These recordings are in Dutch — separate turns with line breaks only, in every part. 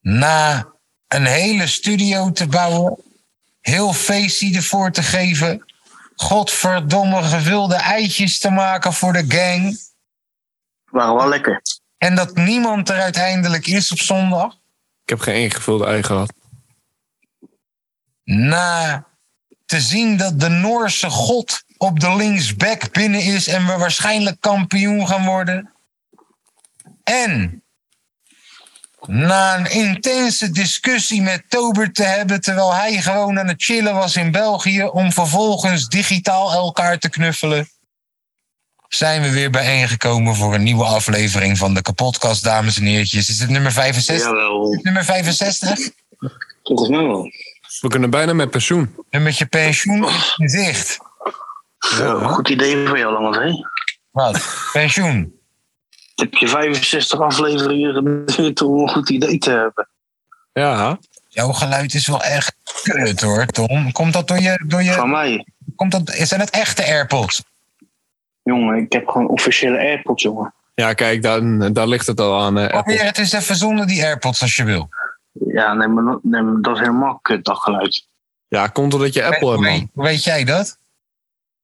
Na een hele studio te bouwen, heel feestje ervoor te geven, godverdomme gewilde eitjes te maken voor de gang,
Waren wel lekker.
en dat niemand er uiteindelijk is op zondag.
Ik heb geen ingevulde ei gehad.
Na te zien dat de Noorse god op de linksback binnen is en we waarschijnlijk kampioen gaan worden. En na een intense discussie met Tober te hebben terwijl hij gewoon aan het chillen was in België om vervolgens digitaal elkaar te knuffelen. Zijn we weer bijeengekomen voor een nieuwe aflevering van de kapotkast, dames en heertjes. Is het nummer 65?
Jawel.
Nummer 65?
Volgens mij wel.
We kunnen bijna met pensioen.
Nummertje pensioen is in zicht.
Goed idee voor jou, Lammert, hè?
Wat? Pensioen.
Heb je 65 afleveringen geduurd om een goed idee te hebben?
Ja.
Jouw geluid is wel echt kut hoor, Tom. Komt dat door je. Door
Van
je
mij.
komt dat, zijn het echte AirPods?
Jongen, ik heb gewoon officiële AirPods, jongen.
Ja, kijk, daar, daar ligt het al aan. eh, Apple.
Probeer het eens even zonder die AirPods als je wil.
Ja, nee, maar, dat- nee, maar dat is helemaal kut, dat geluid.
Ja, komt doordat je Apple hebt,
Hoe
man.
weet, hoe weet jij dat?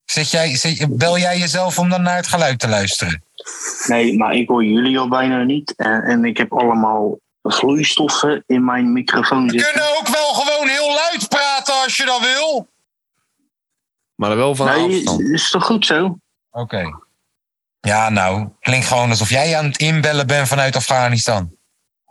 Zit jij, zit- bel jij jezelf om dan naar het geluid te luisteren?
Nee, maar ik hoor jullie al bijna niet. En, en ik heb allemaal vloeistoffen in mijn microfoon
We
zitten.
kunnen ook wel gewoon heel luid praten als je dat wil.
Maar dan wel van
Nee, is,
afstand.
is toch goed zo?
Oké. Ja, nou, klinkt gewoon alsof jij aan het inbellen bent vanuit Afghanistan.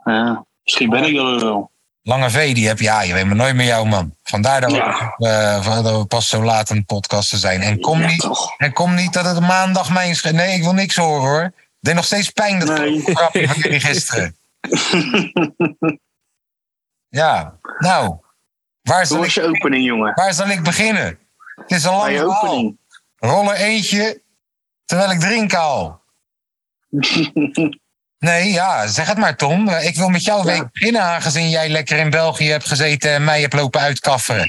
Ja, misschien ben ik dat wel.
Lange V, die heb je, ja, je weet maar nooit meer jou, man. Vandaar dat we,
Ja.
eh, van- dat we pas zo laat aan het podcasten zijn. En kom,
Ja,
niet,
toch.
en kom niet dat het maandag mijn sch- Nee, ik wil niks horen hoor. Het deed nog steeds pijn dat
Nee.
grapje van jullie gisteren. ja, nou, waar
Hoe
zal,
was
ik,
je opening, jongen?
waar zal ik beginnen? Het is een
Bij
lange
je
verhaal.
opening.
Rol er eentje, terwijl ik drink al. Nee, ja, zeg het maar, Tom. Eh, Ik wil met jou week beginnen, aangezien jij lekker in België hebt gezeten en mij hebt lopen uitkafferen.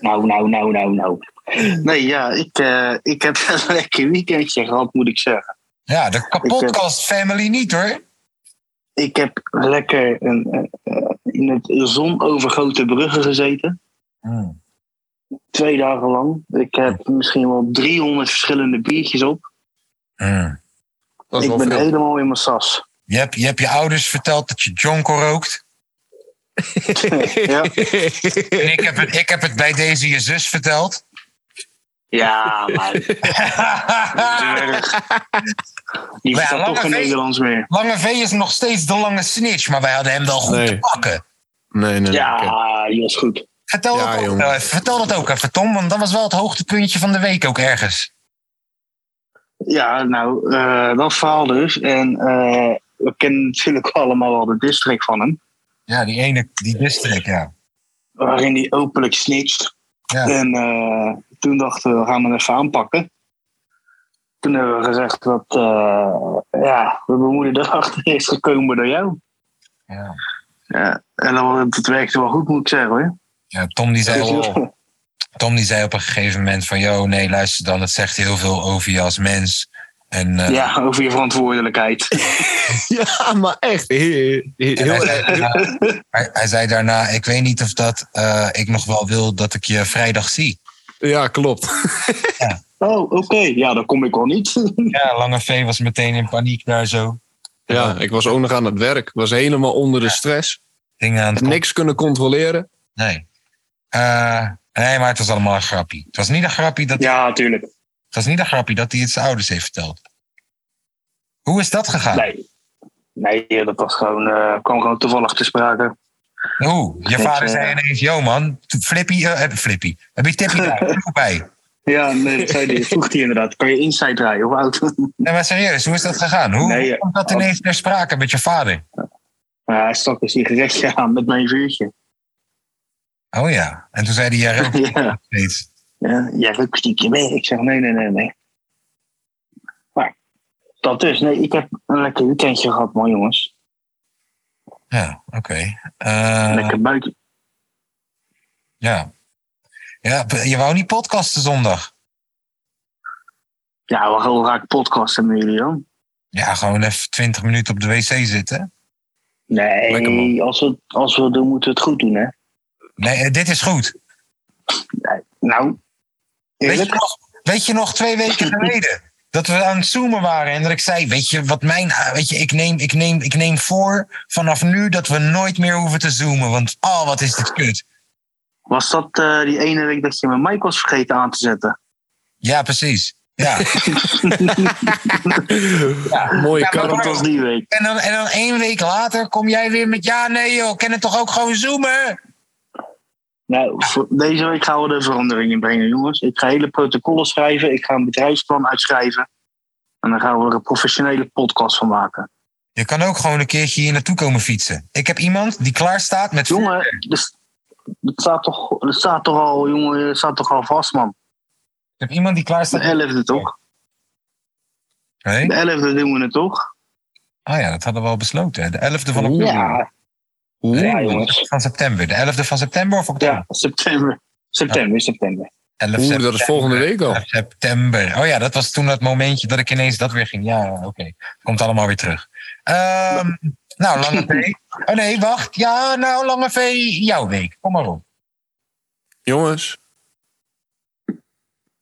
Nou, nou, nou, nou, nou. Nee, ja, ik, eh, ik heb wel een lekker weekendje gehad, moet ik eh, zeggen.
Ja, de kapotkast family niet hoor.
Ik heb lekker een, eh, eh, in het zonovergoten Brugge gezeten.
Hmm.
Twee dagen lang. Ik heb misschien wel 300 verschillende biertjes op.
Mm.
Dat is
Ik
wel
ben
veel.
helemaal in mijn sas.
Je, hebt, je hebt je ouders verteld dat je jonko rookt.
ja.
En ik heb, het, ik heb het bij deze je zus verteld.
ja, maar die
Maar ja,
verstaat
lange
toch geen
feest.
Nederlands meer.
Lange V is nog steeds de lange snitch, maar wij hadden hem wel goed
Nee.
te pakken.
Nee, nee, nee. oké.
Ja, die was goed.
Vertel,
Ja,
dat ook
jongen.
wel even. vertel dat ook even, Tom, want dat was wel het hoogtepuntje van de week ook ergens.
Ja, nou, eh, dat verhaal dus. En eh, we kennen natuurlijk allemaal wel de district van hem.
Ja, die ene, die district, ja.
Waarin hij openlijk snitcht.
Ja.
En eh, toen dachten we, we gaan we hem even aanpakken. Toen hebben we gezegd dat eh, ja, dat mijn moeder erachter is gekomen door jou.
Ja.
Ja, en dat, dat werkte wel goed, moet ik zeggen hoor.
Ja, Tom die zei al,
Dus-
Tom die zei op een gegeven moment van... Yo, nee, luister dan, het zegt heel veel over je als mens. En eh,
ja, over je verantwoordelijkheid.
Ja, maar echt. Heel, heel,
en hij,
heel-
zei, hij, hij zei daarna, ik weet niet of dat eh, ik nog wel wil dat ik je vrijdag zie.
ja, klopt.
Oh, oké. Ja, dan kom ik wel niet.
Ja, Lange V was meteen in paniek daar zo.
Ja, ik was ook nog aan het werk. Was helemaal onder de stress.
Dingen aan het
Niks kunnen controleren.
Nee. Eh, nee, maar het was allemaal een grappie. Het was niet een grappie dat,
ja, tuurlijk.
het was niet een grappie dat hij het zijn ouders heeft verteld. Hoe is dat gegaan?
Nee. Nee, dat was gewoon, eh, kwam gewoon toevallig te sprake.
Hoe? Je
Ik,
vader
eh,
eh, zei ineens, yo man, Flippy, eh, Flippy, heb je Tippy daar? Kom bij.
Ja, nee, dat zei die, vroeg hij inderdaad. Kan je inside draaien of out?
Nee, maar serieus, hoe is dat gegaan? Hoe
Nee,
hoe
ja.
komt dat ineens ter sprake met je vader?
Maar hij stak dus een sigaretje aan met mijn vuurtje.
Oh ja. En toen zei hij, jij rookt
ja,
steeds.
ja, jij ruikt stiekem mee. Ik zeg, nee, nee, nee, nee. Maar, dat dus. Nee, ik heb een lekker weekendje gehad, man, jongens.
Ja, oké. Eh,
Lekker buiten.
ja. ja, je wou niet podcasten zondag.
Ja, we gaan raak podcasten met jullie dan.
Ja, gewoon even 20 minuten op de wc zitten.
Lekker, man.
Nee, als we, als we het doen, moeten we het goed doen, hè.
Nee, eh, dit is goed.
Nou,
Weet je,
eerlijk?
nog, weet je nog twee weken geleden dat we aan het zoomen waren en dat ik zei, weet je wat mijn, ah, weet je, ik neem, ik neem, ik neem voor vanaf nu dat we nooit meer hoeven te zoomen, want oh, wat is dit kut.
Was dat eh, die ene week dat je mijn mic was vergeten aan te zetten?
Ja, precies. Ja.
Mooie
Ja, maar
karren.
Dat was die week.
En dan, en dan één week later kom jij weer met, ja, nee joh, kan het toch ook gewoon zoomen?
Nou, voor- deze week gaan we er verandering in brengen, jongens. Ik ga hele protocollen schrijven. Ik ga een bedrijfsplan uitschrijven. En dan gaan we er een professionele podcast van maken.
Je kan ook gewoon een keertje hier naartoe komen fietsen. Ik heb iemand die klaar staat met...
Jongen, dus, het, staat toch, het staat toch al, jongen, het staat toch al vast, man.
Ik heb iemand die klaar
De
staat...
elfde toch?
Nee?
De elfde doen we het toch?
Ah ja, dat hadden we al besloten. hè. De 11e van,
Oeh.
Ja,
Oeh.
ja jongens.
van september. De 11e van september of oktober?
Ja, september. September, september.
11
Oeh, dat
september.
is volgende week al.
11 september. Oh ja, dat was toen dat momentje dat ik ineens dat weer ging. Ja, oké. Komt allemaal weer terug. Ehm, nou, Lange V. Oh nee, wacht. Ja, nou, Lange V, jouw week. Kom maar op.
Jongens.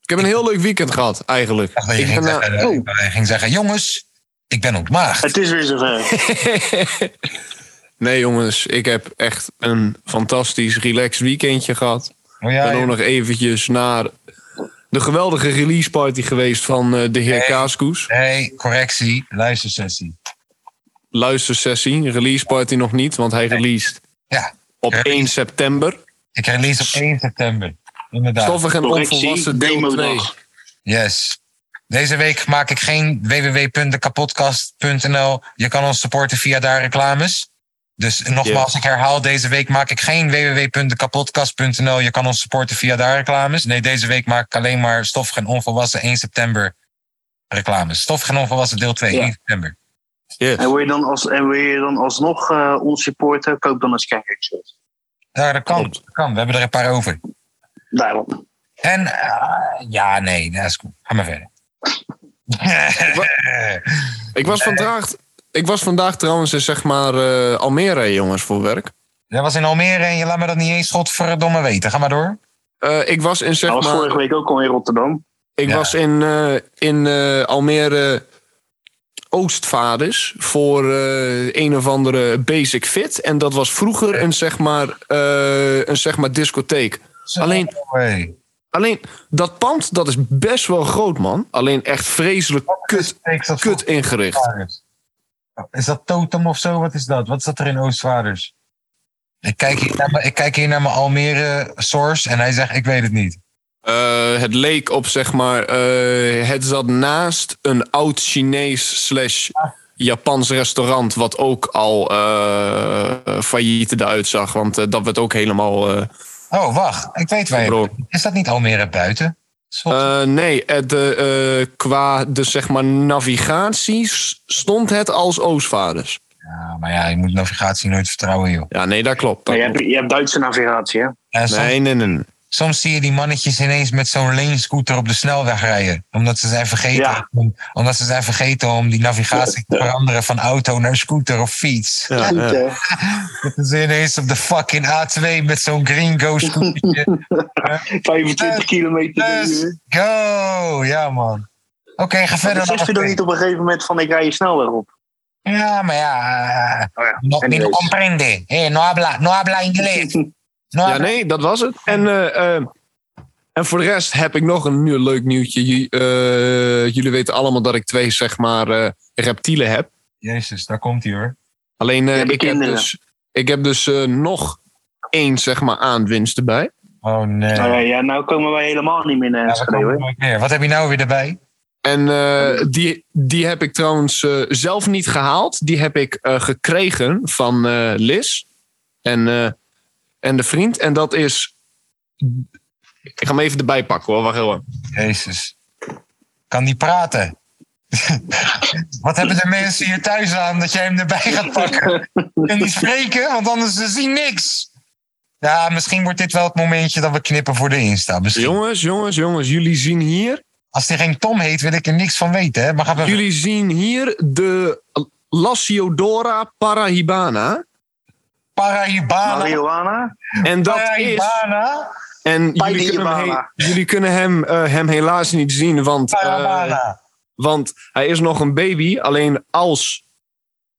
Ik heb een heel leuk weekend gehad, eigenlijk.
Ik dacht dat je ging,
ben,
zeggen,
eh,
ik ging zeggen, jongens, ik ben ontmaagd.
Het is weer zover.
nee, jongens, ik heb echt een fantastisch, relaxed weekendje gehad.
Oh
Ik
ja,
ben ook nog eventjes naar de geweldige release party geweest van eh, de heer
Nee.
Kaaskoes.
Nee, correctie, luistersessie.
Luistersessie, release party nog niet, want hij released
Ja.
op
Release.
1 september.
Ik release op 1 september. Inderdaad.
Stoffig en
Correctie,
onvolwassen deel 2.
demodag.
Yes. Deze week maak ik geen www.dekapotkast.nl. Je kan ons supporten via daar reclames. Dus nogmaals,
Yes.
ik herhaal, deze week maak ik geen www.dekapotkast.nl. Je kan ons supporten via daar reclames. Nee, deze week maak ik alleen maar Stoffig en Onvolwassen 1 september reclames. Stoffig en Onvolwassen deel 2,
Ja.
1 september.
En wil je dan, als, en wil je dan alsnog eh ons supporten? Koop dan een scanner-shirt.
Ja, Nou, dat kan.
Klopt.
Dat kan. We hebben er een paar over.
Daarom.
En eh, ja, nee, dat is cool. Ga maar verder.
Ik was vandaag... Ik was vandaag trouwens in zeg maar eh, Almere, jongens, voor werk.
Jij was in Almere en je laat me dat niet eens godverdomme weten. Ga maar door.
Eh, ik was in zeg
Hij was
maar...
vorige week ook al in Rotterdam.
Ik
Ja.
was in, eh, in eh, Almere Oostvaders voor eh, een of andere Basic Fit. En dat was vroeger een, zeg maar, eh, een zeg maar discotheek.
Zo,
Alleen-
hey.
Alleen dat pand, dat is best wel groot, man. Alleen echt vreselijk kut,
Ik zat
kut ingericht.
voor- Oh, Is dat Totem of zo? Wat is dat? Wat zat er in Oostvaarders? Ik kijk hier naar mijn, ik kijk hier naar mijn Almere source en hij zegt: Ik weet het niet.
Eh, het leek op, zeg maar, eh, het zat naast een oud Chinees slash Japans restaurant, wat ook al eh, failliet eruit zag. Want eh, dat werd ook helemaal eh,
Oh, wacht. Ik weet waar. je-
verbroken.
Is dat niet Almere buiten? Schot-
Eh, nee, het, eh, eh, qua de, zeg maar, navigatie s- stond het als Oostvaders.
Ja, Ah, maar ja, je moet navigatie nooit vertrouwen, joh.
Ja, nee, dat klopt. dat
Maar je hebt,
klopt.
je hebt Duitse navigatie, hè?
En soms-
Nee, nee, nee. nee.
Soms zie je die mannetjes ineens met zo'n leenscooter op de snelweg rijden. Omdat ze zijn vergeten,
Ja.
om, omdat ze zijn vergeten om die navigatie te veranderen van auto naar scooter of fiets.
Ja,
Goed,
ja.
hè?
eh, Dan zijn ineens op de fucking A2 met zo'n gringo scootertje. eh,
25 kilometer per
Let's
uur.
go! Ja, man. Oké, ga verder. eh,
Beseft u dan niet op een gegeven moment van ik rij je snelweg op?
Ja, eh, maar ja.
Oh ja,
No,
anyways.
no comprende. Hey, no habla, no habla inglés. No
Ja,
habla-
nee, dat was het. En, eh, eh, en voor de rest heb ik nog een nieuw, leuk nieuwtje. J- eh, jullie weten allemaal dat ik twee, zeg maar, eh, reptielen heb.
Jezus, daar komt hij hoor.
Alleen, eh,
hebt
ik, heb
kinderen.
dus, ik heb dus eh, nog één, zeg maar, aanwinst erbij.
Oh nee.
Nou ja, ja, nou komen wij helemaal niet meer naar
Ja, we
Enschede.
komen
hoor.
nooit meer. Wat heb je nou weer erbij?
En eh, die, die heb ik trouwens eh, zelf niet gehaald. Die heb ik eh, gekregen van eh Liz en, eh, en de vriend. En dat is. Ik ga hem even erbij pakken hoor. Wacht even.
Jezus. Kan die praten? Wat hebben de mensen hier thuis aan dat jij hem erbij gaat pakken? En die spreken, want anders ze zien niks. Ja, misschien wordt dit wel het momentje dat we knippen voor de Insta. Misschien.
Jongens, jongens, jongens. Jullie zien hier.
Als die geen Tom heet, wil ik er niks van weten. Hè? Maar ga even...
Jullie zien hier de Lassiodora parahibana.
Parahibana.
Marihuana?
En dat is.
Parahibana.
En jullie kunnen hem,
Parahibana.
he- jullie kunnen hem, eh, hem helaas niet zien, want. eh,
Parahibana.
Want hij is nog een baby. Alleen als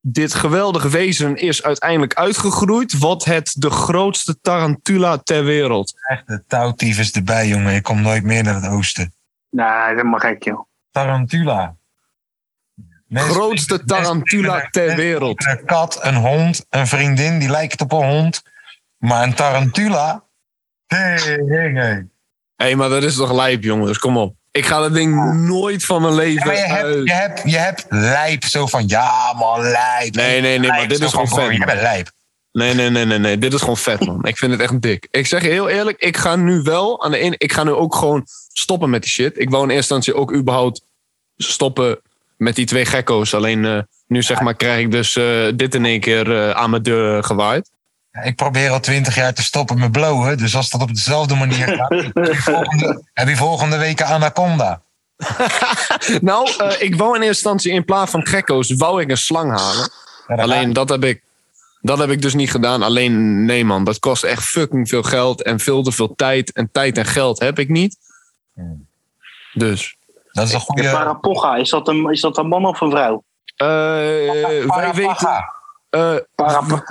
dit geweldige wezen is uiteindelijk uitgegroeid, wordt het de grootste tarantula ter wereld.
Echt de touwtief is erbij, jongen. Ik kom nooit meer naar het oosten.
Nee, Nou, dat mag ik, joh.
Tarantula. Mensen-
Grootste tarantula ter wereld.
Een kat, een hond, een vriendin die lijkt op een hond. Maar een tarantula. Hey, hey, hey.
Hé, maar dat is toch lijp, jongens? Kom op. Ik ga dat ding nooit van mijn
Ja, maar je
leven
hebt, je,
uit.
hebt, je hebt lijp zo van ja, man, lijp.
Nee, nee, nee, maar
Lijp,
dit
zo
is gewoon
van, broer,
vet.
Je
man.
bent lijp.
Nee, nee, nee, nee, nee. Dit is gewoon vet, man. Ik vind het echt dik. Ik zeg je heel eerlijk, ik ga nu wel aan de ene. Ik ga nu ook gewoon stoppen met die shit. Ik wou in eerste instantie ook überhaupt stoppen met die twee gekko's. Alleen eh, nu zeg maar krijg ik dus eh, dit in één keer eh, aan mijn deur gewaaid.
Ja, Ik probeer al twintig jaar te stoppen met blowen. Dus als dat op dezelfde manier gaat, heb je volgende, heb je volgende week een anaconda.
Nou, eh, ik wou in eerste instantie in plaats van gekko's, wou ik een slang halen.
Ja, dat-
Alleen dat heb ik. Dat heb ik dus niet gedaan. Alleen nee man, dat kost echt fucking veel geld en veel te veel tijd. En tijd en geld heb ik niet. Dus.
dat is een
De
goede.
Parapocha, is dat, een, is dat een man of een vrouw?
Oh,
eh, wij weten,
Parapaga.
eh,
Parap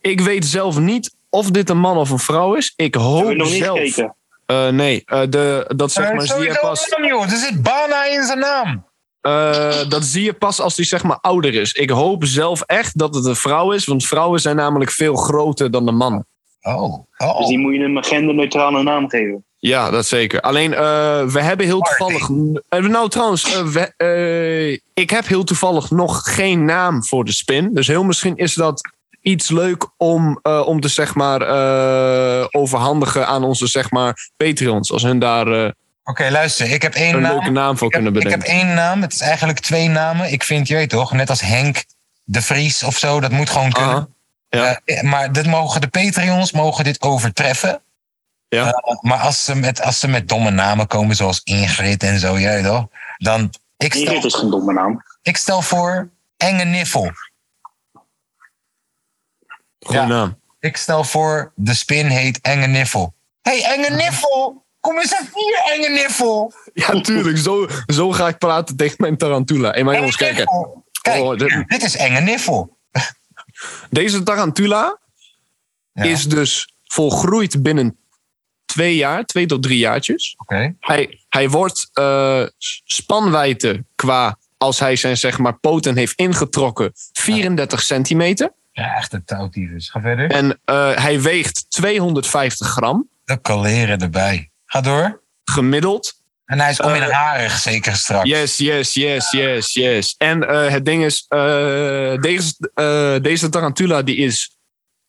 ik weet zelf niet of dit een man of een vrouw is. Ik
Hebben
hoop
we nog niet
zelf.
gekeken.
Eh, nee, eh, de, dat, zeg
Eh,
maar, zie je
Sowieso
pas,
man, joh. Er zit Bana in zijn naam.
eh, dat zie je pas als hij zeg maar ouder is. Ik hoop zelf echt dat het een vrouw is, want vrouwen zijn namelijk veel groter dan de mannen.
Oh. oh.
Dus die moet je een genderneutrale naam geven.
Ja, dat zeker. Alleen, eh, we hebben heel
Martin.
toevallig. eh, nou, trouwens, eh, we- eh, ik heb heel toevallig nog geen naam voor de spin. Dus heel misschien is dat iets leuk om, eh, om te zeg maar, eh, overhandigen aan onze zeg maar, Patreons. Als hun daar eh,
Oké, luister. Ik heb één
een
naam.
leuke naam voor
Ik heb,
kunnen
ik heb
bedenken.
één naam. Het is eigenlijk twee namen. Ik vind, je weet toch, net als Henk de Vries of zo. Dat moet gewoon kunnen.
Aha. ja.
Eh, maar dit mogen de Patreons mogen dit overtreffen.
Ja.
Eh, maar als ze, met, als ze met domme namen komen, zoals Ingrid en zo, jij toch? Dan, ik
Ingrid
stel,
is geen domme naam.
ik stel voor Enge Niffel.
Goeie
ja.
naam.
Ik stel voor, de spin heet Enge Niffel. Hé, hey, Enge Niffel! Kom eens even hier, Enge Niffel!
Ja, tuurlijk. Zo, zo ga ik praten tegen mijn tarantula. Hey, maar
Enge
jongens, kijk. hè.
Niffel. Kijk,
Oh, dit-
hier, dit is Enge Niffel.
Deze tarantula
Ja.
is dus volgroeid binnen twee jaar, twee tot drie jaartjes.
Oké.
Hij, hij wordt eh, spanwijdte qua, als hij zijn zeg maar, poten heeft ingetrokken, 34 centimeter.
Ja, echt een touwtyfus. Ga verder.
En eh, hij weegt 250 gram,
De kaleren erbij. Ga door.
gemiddeld.
En hij is om in
Eh,
harig, zeker straks.
Yes, yes, yes, yes, yes. En eh, het ding is, eh, deze, eh, deze tarantula die is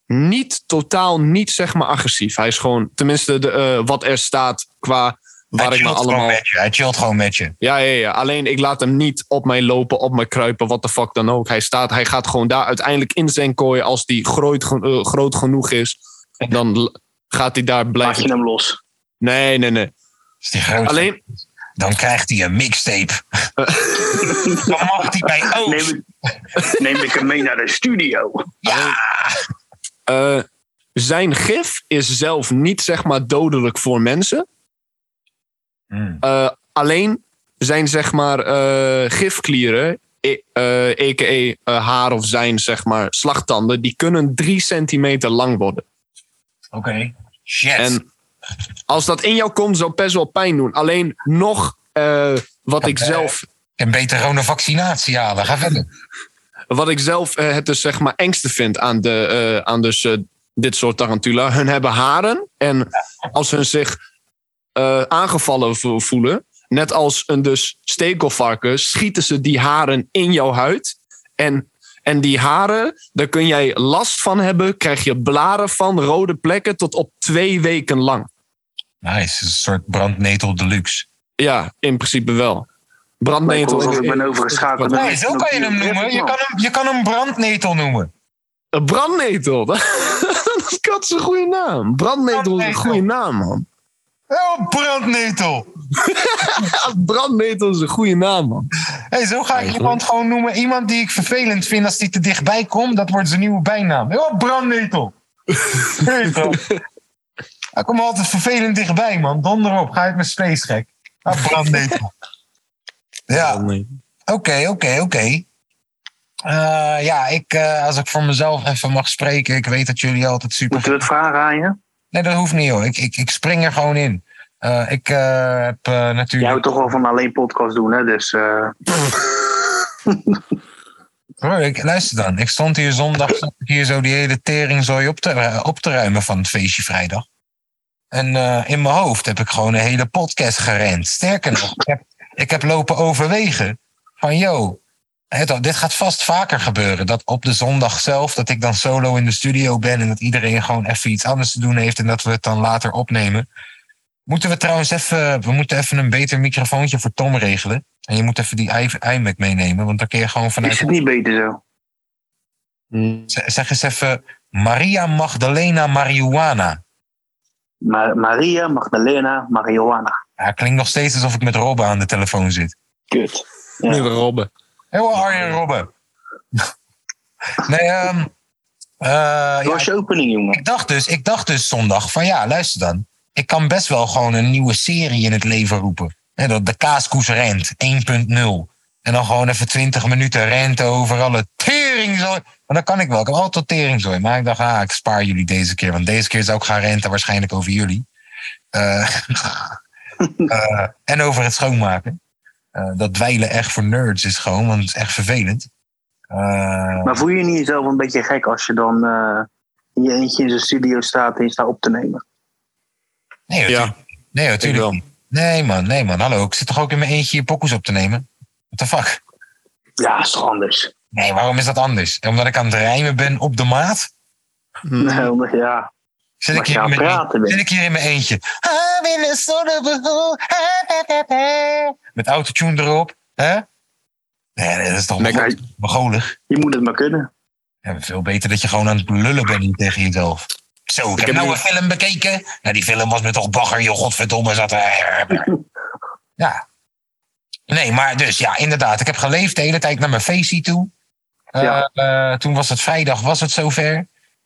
niet totaal niet zeg maar agressief. Hij is gewoon, tenminste de, eh, wat er staat qua
hij
waar ik me
chillt
allemaal...
gewoon met je. Hij chillt gewoon met je.
Ja, ja, ja, alleen ik laat hem niet op mij lopen, op mij kruipen, wat de fuck dan ook. Hij, staat, hij gaat gewoon daar uiteindelijk in zijn kooi als die groot, gen- eh, groot genoeg is. En dan l- gaat hij daar
Laat je
blijven.
hem los.
Nee, nee, nee.
Is die groot?
Alleen,
Dan krijgt hij een mixtape. Dan mag hij bij Oost.
Neem, ik- neem ik hem mee naar de studio.
Eh, zijn gif is zelf niet zeg maar dodelijk voor mensen.
Hmm.
Eh, alleen zijn zeg maar eh, gifklieren, e- eh, a.k.a. eh, haar of zijn zeg maar slagtanden, die kunnen drie centimeter lang worden.
Oké. Shit.
En als dat in jou komt, zou het best wel pijn doen. Alleen nog eh, wat ik
eh,
zelf
En beter gewoon een vaccinatie halen. Ga verder.
Wat ik zelf eh, het dus zeg maar engste vind aan de, eh, aan dus, eh, dit soort tarantula, hun hebben haren. En als hun zich eh, aangevallen vo- voelen, net als een dus stekelvarken, schieten ze die haren in jouw huid. En, en die haren, daar kun jij last van hebben, krijg je blaren van, rode plekken, tot op twee weken lang.
Nice, het is een soort brandnetel deluxe.
Ja, in principe wel.
Ik
Brandnetel.
hoor dat ik ben overgeschakeld.
Wat-
Nee, zo kan je hem noemen. Je kan hem, je kan hem brandnetel noemen.
Een brandnetel. Dat is kats een goede naam. Brandnetel is een
Brandnetel.
goede naam, man.
Oh, brandnetel.
Ja, brandnetel is een goede naam, man.
Hey, zo ga ik iemand gewoon noemen. Iemand die ik vervelend vind als die te dichtbij komt, dat wordt zijn nieuwe bijnaam. Oh, brandnetel. Netel. Hij komt altijd vervelend dichtbij, man. Donder op, ga ik met space gek. Ah, brandnetel. Ja. Oké, oké, oké. Eh, ja, ik, eh, als ik voor mezelf even mag spreken. Ik weet dat jullie altijd super.
Moeten we het vragen aan je?
Nee, dat hoeft niet hoor. Ik, ik, ik spring er gewoon in. Eh, ik eh, heb eh,
Jij
natuurlijk.
houdt toch wel van alleen podcast doen, hè? Dus eh,
Hoor, Oh, ik, luister dan. Ik stond hier zondag. Zat ik hier zo die hele teringzooi op te, eh, op te ruimen van het feestje vrijdag. En eh, in mijn hoofd heb ik gewoon een hele podcast gerend. Sterker nog, ik heb, ik heb lopen overwegen. Van yo, het, dit gaat vast vaker gebeuren. Dat op de zondag zelf, dat ik dan solo in de studio ben. En dat iedereen gewoon even iets anders te doen heeft. En dat we het dan later opnemen. Moeten we trouwens even, we moeten even een beter microfoontje voor Tom regelen. En je moet even die i- iMac meenemen, want dan kun je gewoon
is
vanuit...
het niet beter zo?
Z- Zeg eens even Maria Magdalena Marihuana.
Ma- Maria, Magdalena, Marihuana.
Ja, klinkt nog steeds alsof ik met Robbe aan de telefoon zit.
Kut.
Nu weer Robben.
Heel Arjen Robbe. nee, ehm eh, ja,
Dat was je opening, jongen.
ik, dacht dus, ik dacht dus zondag van ja, luister dan. Ik kan best wel gewoon een nieuwe serie in het leven roepen. Hè, dat de kaaskoes rent 1.0. En dan gewoon even 20 minuten rent over alle teringzooi. Maar dat kan ik wel. Ik heb altijd teringzooi. Maar ik dacht, ah, ik spaar jullie deze keer. Want deze keer zou ik gaan renten waarschijnlijk over jullie. Eh, eh, en over het schoonmaken. Eh, dat dweilen echt voor nerds is gewoon, want het is echt vervelend. Eh,
Maar voel je niet jezelf een beetje gek als je dan eh, in je eentje in zijn studio staat en je staat op te nemen?
nee, hoor,
Ja,
Nee, natuurlijk.
wel.
niet. Nee, man, nee, man. Hallo, ik zit toch ook in mijn eentje hier pokoes op te nemen? What the fuck?
Ja, is toch anders?
Nee, waarom is dat anders? Omdat ik aan het rijmen ben op de maat?
Nee, omdat- ja.
Zit ik
Als
hier,
je
in
aan het
mijn,
praten
zit
bent.
ik hier in mijn eentje? Ah, Met autotune erop, hè? Nee, nee, dat is toch
Lekker.
bego- begolig.
Je moet het maar kunnen.
Ja, veel beter dat je gewoon aan het lullen bent hier tegen jezelf. Zo, ik, heb
heb
nou
nu-
een film bekeken. Nou, die film was me toch bagger, joh, godverdomme. Zat er... Ja. Nee, maar dus ja, inderdaad. Ik heb geleefd de hele tijd naar mijn feestje toe. Eh,
Ja.
eh, toen was het vrijdag, was het zover.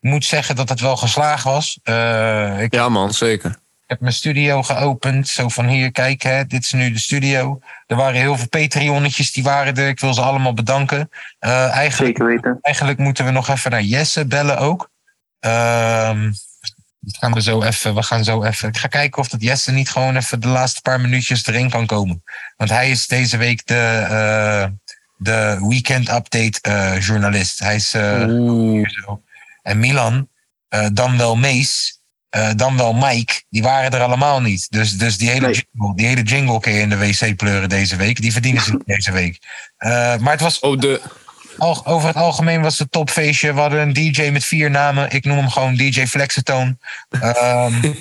Ik moet zeggen dat het wel geslaagd was. Eh, ik
Ja, man, zeker.
heb mijn studio geopend. Zo van hier, kijk, hè, dit is nu de studio. Er waren heel veel Patreonnetjes, die waren er. Ik wil ze allemaal bedanken. Eh, eigenlijk
Zeker weten.
eigenlijk moeten we nog even naar Jesse bellen ook. Ehm, dat gaan we, zo even, we gaan zo even. Ik ga kijken of dat Jesse niet gewoon even de laatste paar minuutjes erin kan komen. Want hij is deze week de, eh, de weekend update eh, journalist. Hij is. eh,
Mhm.
zo. En Milan, eh, dan wel Mees, eh, dan wel Mike, die waren er allemaal niet. Dus, dus die, hele
Nee.
jingle, die hele jingle kun je in de wc pleuren deze week. Die verdienen ze niet deze week. Eh, maar het was
Oh, de,
al- over het algemeen was het een topfeestje. We hadden een DJ met vier namen. Ik noem hem gewoon DJ Flexetoon. Ehm,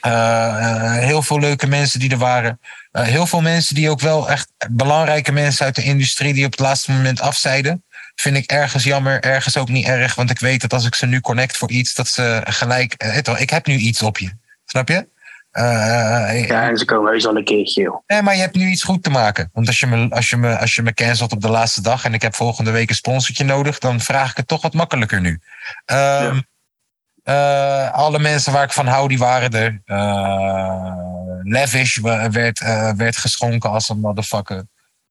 eh, eh, heel veel leuke mensen die er waren. Eh, heel veel mensen die ook wel echt belangrijke mensen uit de industrie die op het laatste moment afzeiden. Vind ik ergens jammer, ergens ook niet erg. Want ik weet dat als ik ze nu connect voor iets, dat ze gelijk. eh, weet je wel, ik heb nu iets op je. Snap je? Eh, eh,
Ja, en ze komen heus al een keertje, joh.
Nee, maar je hebt nu iets goed te maken. Want als je me, als je me, als je me cancelt op de laatste dag en ik heb volgende week een sponsortje nodig, dan vraag ik het toch wat makkelijker nu. Ehm, eh, alle mensen waar ik van hou, die waren er. Eh, Lavish wa- werd, eh, werd geschonken als een motherfucker.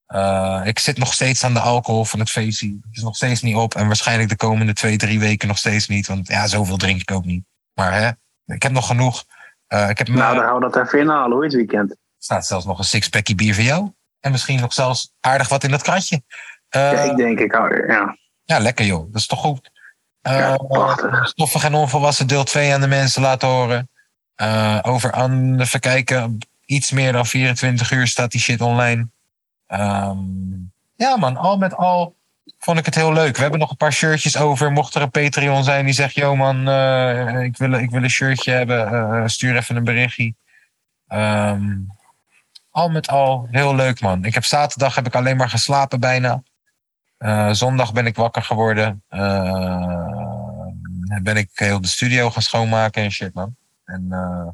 Eh, ik zit nog steeds aan de alcohol van het feestje. Het is nog steeds niet op. En waarschijnlijk de komende twee, drie weken nog steeds niet. Want ja, zoveel drink ik ook niet. Maar hè, ik heb nog genoeg. Eh, ik heb
Nou,
me-
dan gaan we dat even inhalen hoor, dit weekend.
staat zelfs nog een sixpackie bier voor jou. En misschien nog zelfs aardig wat in dat kratje. Eh,
Ja, ik denk, ik hou, ja.
ja, lekker joh. Dat is toch goed. Eh,
prachtig.
Stoffig en onvolwassen deel 2 aan de mensen laten horen. Eh, over aan de verkijken. Iets meer dan 24 uur staat die shit online. Ehm, ja man, al met al vond ik het heel leuk. We hebben nog een paar shirtjes over. Mocht er een Patreon zijn die zegt... Yo man, eh, ik, wil, ik wil een shirtje hebben. eh, stuur even een berichtje. Ehm, al met al heel leuk man. Ik heb zaterdag heb ik alleen maar geslapen bijna. Eh, zondag ben ik wakker geworden. Eh, ben ik heel de studio gaan schoonmaken en shit, man. En eh,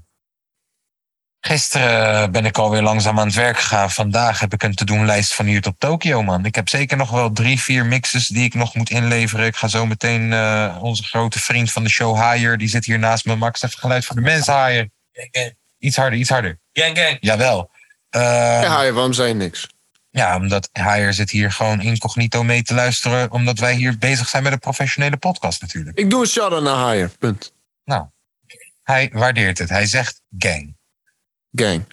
gisteren ben ik alweer langzaam aan het werk gegaan. Vandaag heb ik een te-doen-lijst van hier tot Tokio, man. Ik heb zeker nog wel drie, vier mixes die ik nog moet inleveren. Ik ga zo meteen eh, onze grote vriend van de show, Haier, die zit hier naast me. Max, even geluid voor de mensen, Haier. Iets harder, iets harder.
Gang, gang.
Jawel. Eh,
Ja, hi, waarom zei je niks?
ja, omdat Haier zit hier gewoon incognito mee te luisteren. Omdat wij hier bezig zijn met een professionele podcast natuurlijk.
Ik doe een shout-out naar Haier. Punt.
Hij waardeert het. Hij zegt gang.
Gang.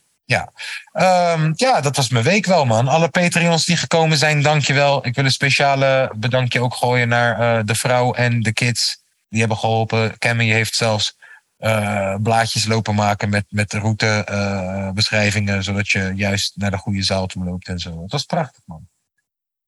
Ehm, ja, dat was mijn week wel, man. Alle Patreons die gekomen zijn, dankjewel. Ik wil een speciale bedankje ook gooien naar eh, de vrouw en de kids. Die hebben geholpen. Cammy heeft zelfs eh, blaadjes lopen maken met, met routebeschrijvingen. zodat je juist naar de goede zaal toe loopt en zo. Het was prachtig, man.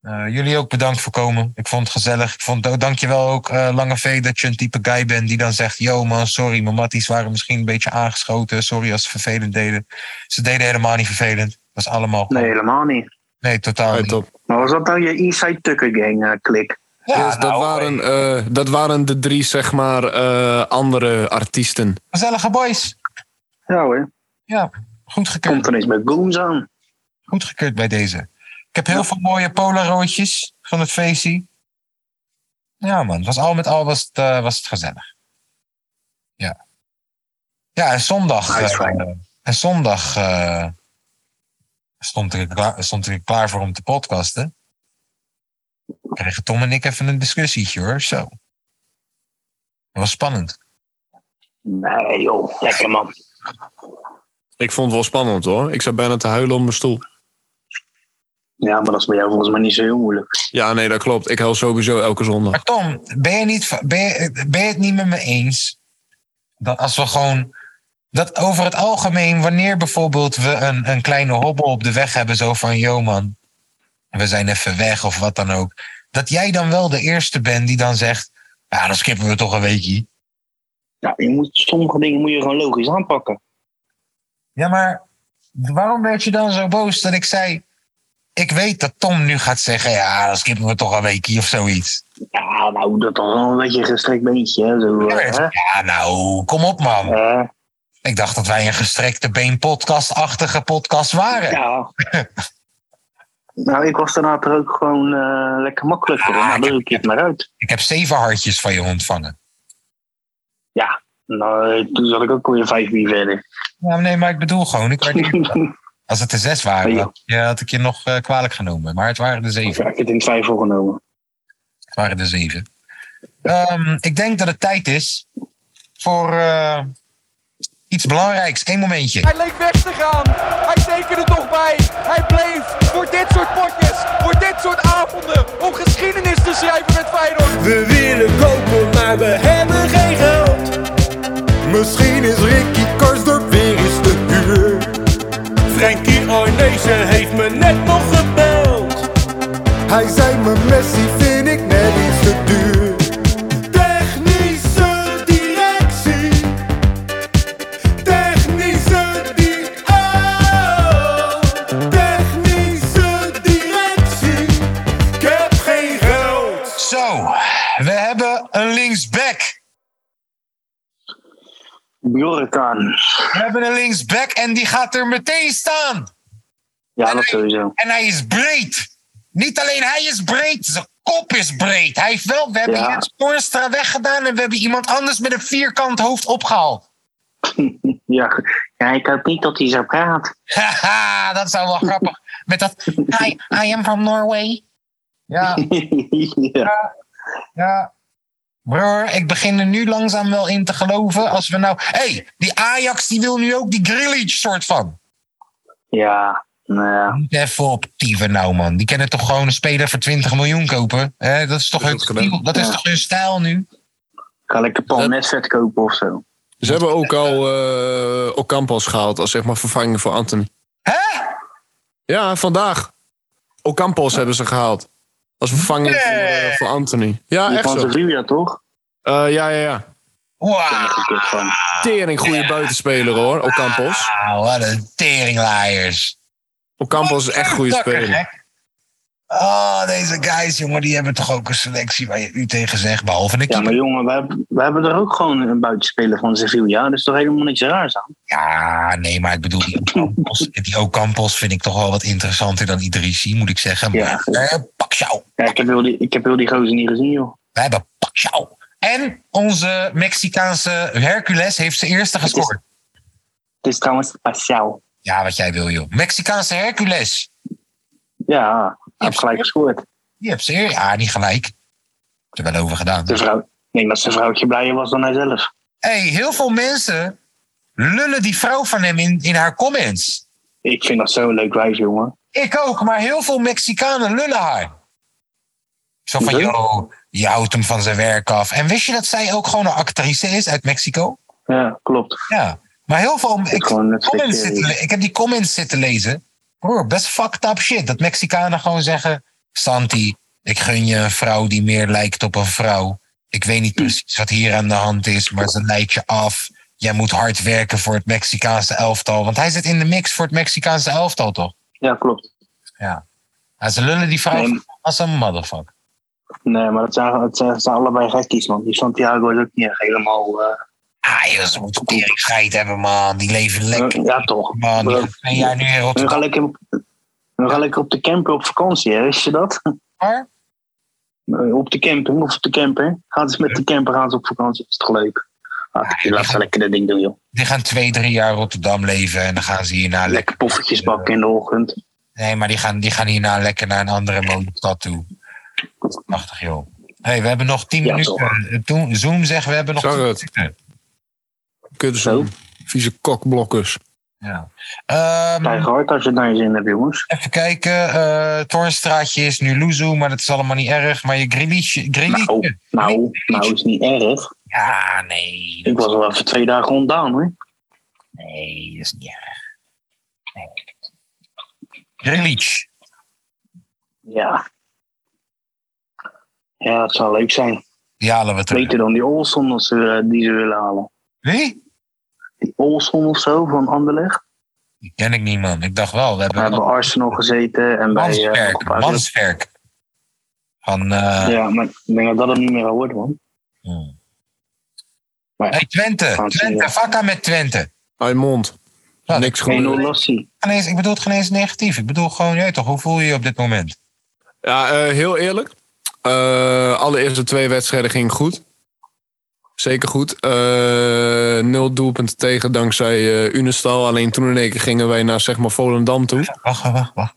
Eh, jullie ook bedankt voor komen. Ik vond het gezellig. Ik vond, oh, dankjewel ook, eh, Lange V, dat je een type guy bent die dan zegt... Yo man, sorry, mijn matties waren misschien een beetje aangeschoten. Sorry als ze vervelend deden. Ze deden helemaal niet vervelend. Dat was allemaal...
Nee, helemaal niet.
Nee, totaal
Hey,
niet.
top.
Maar was dat nou je Inside Tucker Gang eh, klik?
Ja,
Dus dat,
nou,
waren, eh, dat waren de drie, zeg maar, eh, andere artiesten.
Gezellige boys.
Ja hoor,
Goedgekeurd.
komt er eens met Goons aan.
Goedgekeurd bij deze. Ik heb heel veel mooie polaroidjes van het feestje. Ja man, het was al met al was het, eh, was het gezellig. Ja. Ja, en zondag... eh,
Uitzwaaien.
en zondag eh, stond, ik klaar, stond ik klaar voor om te podcasten. Kregen Tom en ik even een discussietje hoor, zo. Dat was spannend.
Nee joh, lekker man.
Ik vond het wel spannend hoor. Ik zat bijna te huilen op mijn stoel.
Ja, maar dat is bij jou volgens mij niet zo heel moeilijk.
Ja, nee, dat klopt. Ik huil sowieso elke zondag.
Maar Tom, ben je, niet, ben je, ben je het niet met me eens dat als we gewoon. Dat over het algemeen, wanneer bijvoorbeeld we een, een kleine hobbel op de weg hebben, zo van: yo man, we zijn even weg of wat dan ook. Dat jij dan wel de eerste bent die dan zegt: ja, dan skippen we toch een weekje.
Ja, je moet, sommige dingen moet je gewoon logisch aanpakken.
Ja, maar waarom werd je dan zo boos dat ik zei. Ik weet dat Tom nu gaat zeggen: ja, dan skippen we toch een weekje of zoiets.
Ja, nou, dat was wel een beetje een gestrekt beentje. Hè, zo, eh, hè?
Ja, nou, kom op man.
Eh,
Ik dacht dat wij een gestrekte been podcast-achtige podcast waren.
ja. nou, ik was daarna er ook gewoon eh, lekker makkelijk voor.
Ah,
nou,
ik heb-
dan ik het maar uit.
Ik heb zeven hartjes van je ontvangen.
Nou, eh, toen zat ik ook alweer vijf uur verder.
Ja, nee, maar ik bedoel gewoon. Ik werd- als het er zes waren, had, je- had ik je nog eh, kwalijk genomen. Maar het waren er
ik
zeven.
heb het in twijfel genomen.
Het waren er zeven. Ehm, ik denk dat het tijd is voor eh, iets belangrijks. Eén momentje.
Hij leek weg te gaan. Hij tekende toch bij. Hij bleef voor dit soort potjes, voor dit soort avonden, om geschiedenis te schrijven met Feyenoord.
We willen kopen, maar we hebben geen geld. Misschien is Ricky Karsdorp weer eens te huur. Frankie Arnezen heeft me net nog gebeld. Hij zei me Messi vind ik net iets te duur. Technische directie. Technische di- oh. Technische directie. Ik heb geen geld.
Zo, we hebben een linksback.
Bjorkan.
We hebben een linksback en die gaat er meteen staan.
Ja, dat sowieso.
En hij is breed. Niet alleen hij is breed, zijn kop is breed. Hij heeft wel, we hebben
Ja.
Jens Toornstra weggedaan en we hebben iemand anders met een vierkant hoofd opgehaald.
Ja. ja, ik hoop niet dat hij zo praat.
Haha, dat zou wel grappig. Met dat, hi, I am from Norway. Ja,
ja.
ja. Broer, ik begin er nu langzaam wel in te geloven. Als we nou... Hé, hey, die Ajax die wil nu ook die Grealish soort van.
Ja, nou ja.
Niet Even op tieven nou, man. Die kunnen toch gewoon een speler voor 20 miljoen kopen? Hè, dat is toch,
Dat is
hun,
ook gedaan.
stijl- dat is
Ja.
toch hun stijl nu?
Ga lekker palmetvet kopen of zo.
Ze hebben ook al eh Ocampos gehaald als zeg maar vervanging voor Anthony.
Hè?
Ja, vandaag. Ocampos hebben ze gehaald. Als vervanging voor, eh, voor Anthony. Ja,
Ah,
Die
echt
van
zo.
Sevilla, toch?
Eh, ja, ja, ja.
Wauw,
Ik heb van.
Tering
Ah,
goede buitenspeler hoor, Ocampos.
wat een teringlaaiers.
Ocampos is echt goede
Takker,
speler.
gek. Oh, deze guys, jongen, die hebben toch ook een selectie waar je u tegen zegt, behalve de
Ja,
keeper.
maar jongen, we hebben, we hebben er ook gewoon een buitenspeler van Sevilla. Dat is toch helemaal niks raars aan?
Ja, nee, maar ik bedoel, die Ocampos, die Ocampos vind ik toch wel wat interessanter dan Idrissi, moet ik zeggen.
Ja.
Maar, eh, pak jou.
Ja, ik heb heel die, ik heb heel die gozer niet gezien, joh.
We hebben Pacquiao. En onze Mexicaanse Hercules heeft zijn eerste gescoord.
Het is trouwens Pascal.
Ja, wat jij wil, joh. Mexicaanse Hercules.
Ja, hij heeft gelijk gescoord.
Die hebt ze eer. Ja, niet gelijk. Ik heb er wel over gedaan.
De vrouw, ik denk dat zijn vrouwtje blijer was dan hij zelf.
hey, heel veel mensen lullen die vrouw van hem in, in haar comments.
Ik vind dat zo'n leuk wijf, jongen.
Ik ook, maar heel veel Mexicanen lullen haar. Zo van,
Leuk.
joh, je houdt hem van zijn werk af. En wist je dat zij ook gewoon een actrice is uit Mexico?
Ja, klopt.
Ja, maar heel veel. Ik,
gewoon net
comments zitten,
flikker, joh.
le- ik heb die comments zitten lezen. Hoor, best fucked up shit. Dat Mexicanen gewoon zeggen: Santi, ik gun je een vrouw die meer lijkt op een vrouw. Ik weet niet precies wat hier aan de hand is, maar ze leidt je af. Jij moet hard werken voor het Mexicaanse elftal. Want hij zit in de mix voor het Mexicaanse elftal, toch?
Ja, klopt.
Ja, ze lullen die vrouw
Nee.
als een motherfucker.
Nee, maar dat zijn, dat zijn, dat zijn allebei gekkies, man. Die Santiago is ook niet echt helemaal... eh,
Ah, joh, ze moeten tering scheid hebben, man. Die leven lekker,
eh, ja, toch.
man. Die gaan twee jaar nu in
We
Rotterdam.
gaan lekker, op- we gaan lekker op de camper op vakantie, hè? wist je dat?
Waar?
Eh, Op de camping of op de camper. Gaan ze met de camper gaan ze op vakantie, is toch leuk? Ah,
Ja,
laat ze lekker dat ding doen, joh.
Die gaan twee, drie jaar Rotterdam leven en dan gaan ze hierna lekker.
Lekker poffertjes bakken in de ochtend.
Nee, maar die gaan, die gaan hierna lekker naar een andere motorstad toe. Prachtig, joh. hey, we hebben nog 10
Ja,
minuten. Eh, Toen, Zoom zegt, we hebben nog
Zag
10
het.
minuten.
Kutzoen. Vieze kokblokkers.
Ja. Ehm,
Krijg hard als je het naar je zin hebt, jongens.
even kijken. eh Tornstraatje is nu Luzu, maar dat is allemaal niet erg. Maar je Grilich. Grilich
Nou, nou, nou is niet erg.
Ja, nee.
Ik was wel even twee dagen ontdaan, hoor.
Nee, dat is niet erg. Nee. Grilich.
Ja. Ja, het zou leuk zijn.
Die halen we terug.
Beter dan die Olson als ze, eh, die ze willen halen.
Wie?
Die Olson of zo van Anderlecht.
Die ken ik niet, man. Ik dacht wel, we
We hebben
hebben
bij Arsenal gezeten en Ah, bij... eh,
Manswerk.
Ajax.
Manswerk. Van... eh,
Ja, maar ik denk dat dat het niet meer gaat worden, man.
Hmm.
Maar Ah,
Hey, Twente,
Gaan ze
Twente,
weer.
vakka met Twente.
Uit mond.
Ja,
Niks
geen
goed.
Olassie.
Geen eens- Ik bedoel het geen eens negatief. Ik bedoel gewoon, jij toch, hoe voel je je op dit moment?
Ja, eh, heel eerlijk. Eh allereerste twee wedstrijden gingen goed. Zeker goed. Eh, nul doelpunten tegen dankzij eh, Unestal. Alleen toen in één keer gingen wij naar zeg maar Volendam toe.
Wacht, wacht, wacht.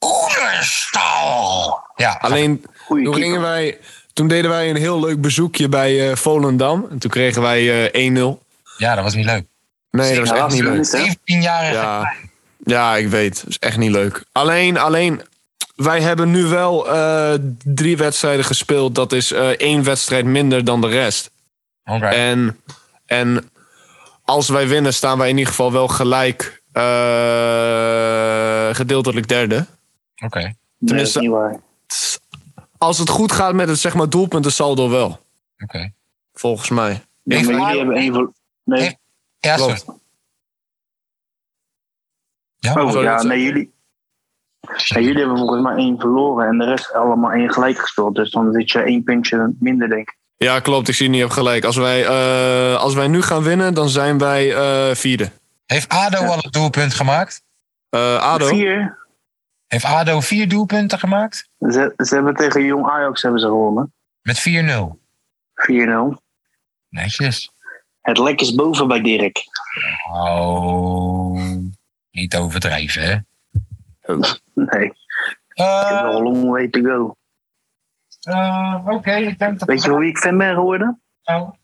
Oenerstal! Ja,
Alleen
Goeie
toen,
keeper.
gingen wij, toen deden wij een heel leuk bezoekje bij eh, Volendam. En toen kregen wij eh, 1-0.
ja, dat was niet leuk.
Nee, dat was echt niet leuk.
17-jarige.
Ja, ja ik weet. Dat is echt niet leuk. Alleen, alleen wij hebben nu wel eh, drie wedstrijden gespeeld. Dat is eh, één wedstrijd minder dan de rest.
Oké.
En, en als wij winnen, staan wij in ieder geval wel gelijk eh, gedeeltelijk derde.
oké.
Nee, dat is
tenminste-
niet waar.
Als het goed gaat met het zeg maar, doelpuntensaldo wel,
oké.
volgens mij.
Ja, maar jullie hebben één voor... Nee,
Heeft- Ja,
Klopt.
sorry. Ja,
oh,
Zo,
ja,
dat-
nee, jullie... Ja, jullie hebben volgens mij één verloren en de rest allemaal één gelijk gespeeld. Dus dan zit je één puntje minder, denk ik.
Ja, klopt. Ik zie niet op gelijk. Als wij, eh, als wij nu gaan winnen, dan zijn wij eh, vierde.
heeft ADO al het doelpunt gemaakt?
Eh, Ado?
Vier.
Heeft ADO vier doelpunten gemaakt?
Ze, ze hebben tegen Jong Ajax hebben ze gewonnen.
Met 4-0.
4-0.
Netjes.
Het lek is boven bij Dirk.
Oh, niet overdrijven, hè?
Nee, ik heb
Eh,
nog een long way to go.
eh, Oké, ik denk dat...
Weet je hoe ik fan ben geworden?
Nou,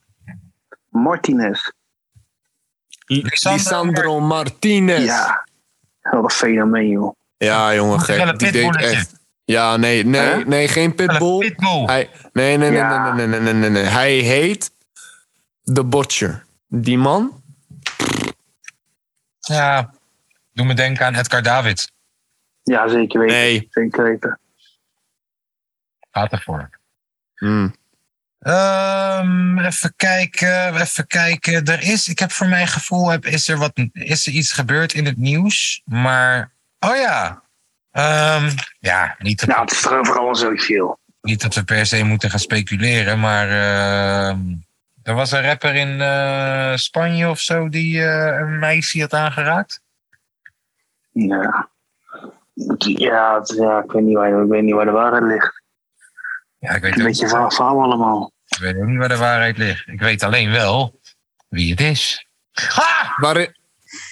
Martinez.
Lisandro Martinez. Ja,
Ja. Wat een fenomeen, joh.
jongen, gek.
Felle
Die deed
pitbulletje.
echt. Ja, nee, nee,
Hè?
nee, geen pitbull.
eh, Pitbull.
Hij, nee, nee, nee,
Ja.
nee, nee, nee, nee, nee, nee. Hij heet de Butcher. Die man?
Ja, doe me denken aan Edgar David.
Ja, zeker weten.
Nee.
Zeker weten.
Gaat ervoor.
Hm.
Ehm, even kijken, even kijken. Er is, ik heb voor mijn gevoel, heb, is, er wat, is er iets gebeurd in het nieuws? Maar, oh ja. Ehm, ja, niet dat,
Nou, het is er overal al zo veel.
niet dat we per se moeten gaan speculeren, maar ehm, er was een rapper in eh, Spanje of zo die eh, een meisje had aangeraakt.
Ja. Ja, het- ja ik, weet niet waar, ik weet niet waar de waarheid ligt.
Ja, ik weet,
Een
ook,
beetje verhaal verhaal allemaal.
ik weet ook niet waar de waarheid ligt. Ik weet alleen wel wie het is. Ha!
Waar, i-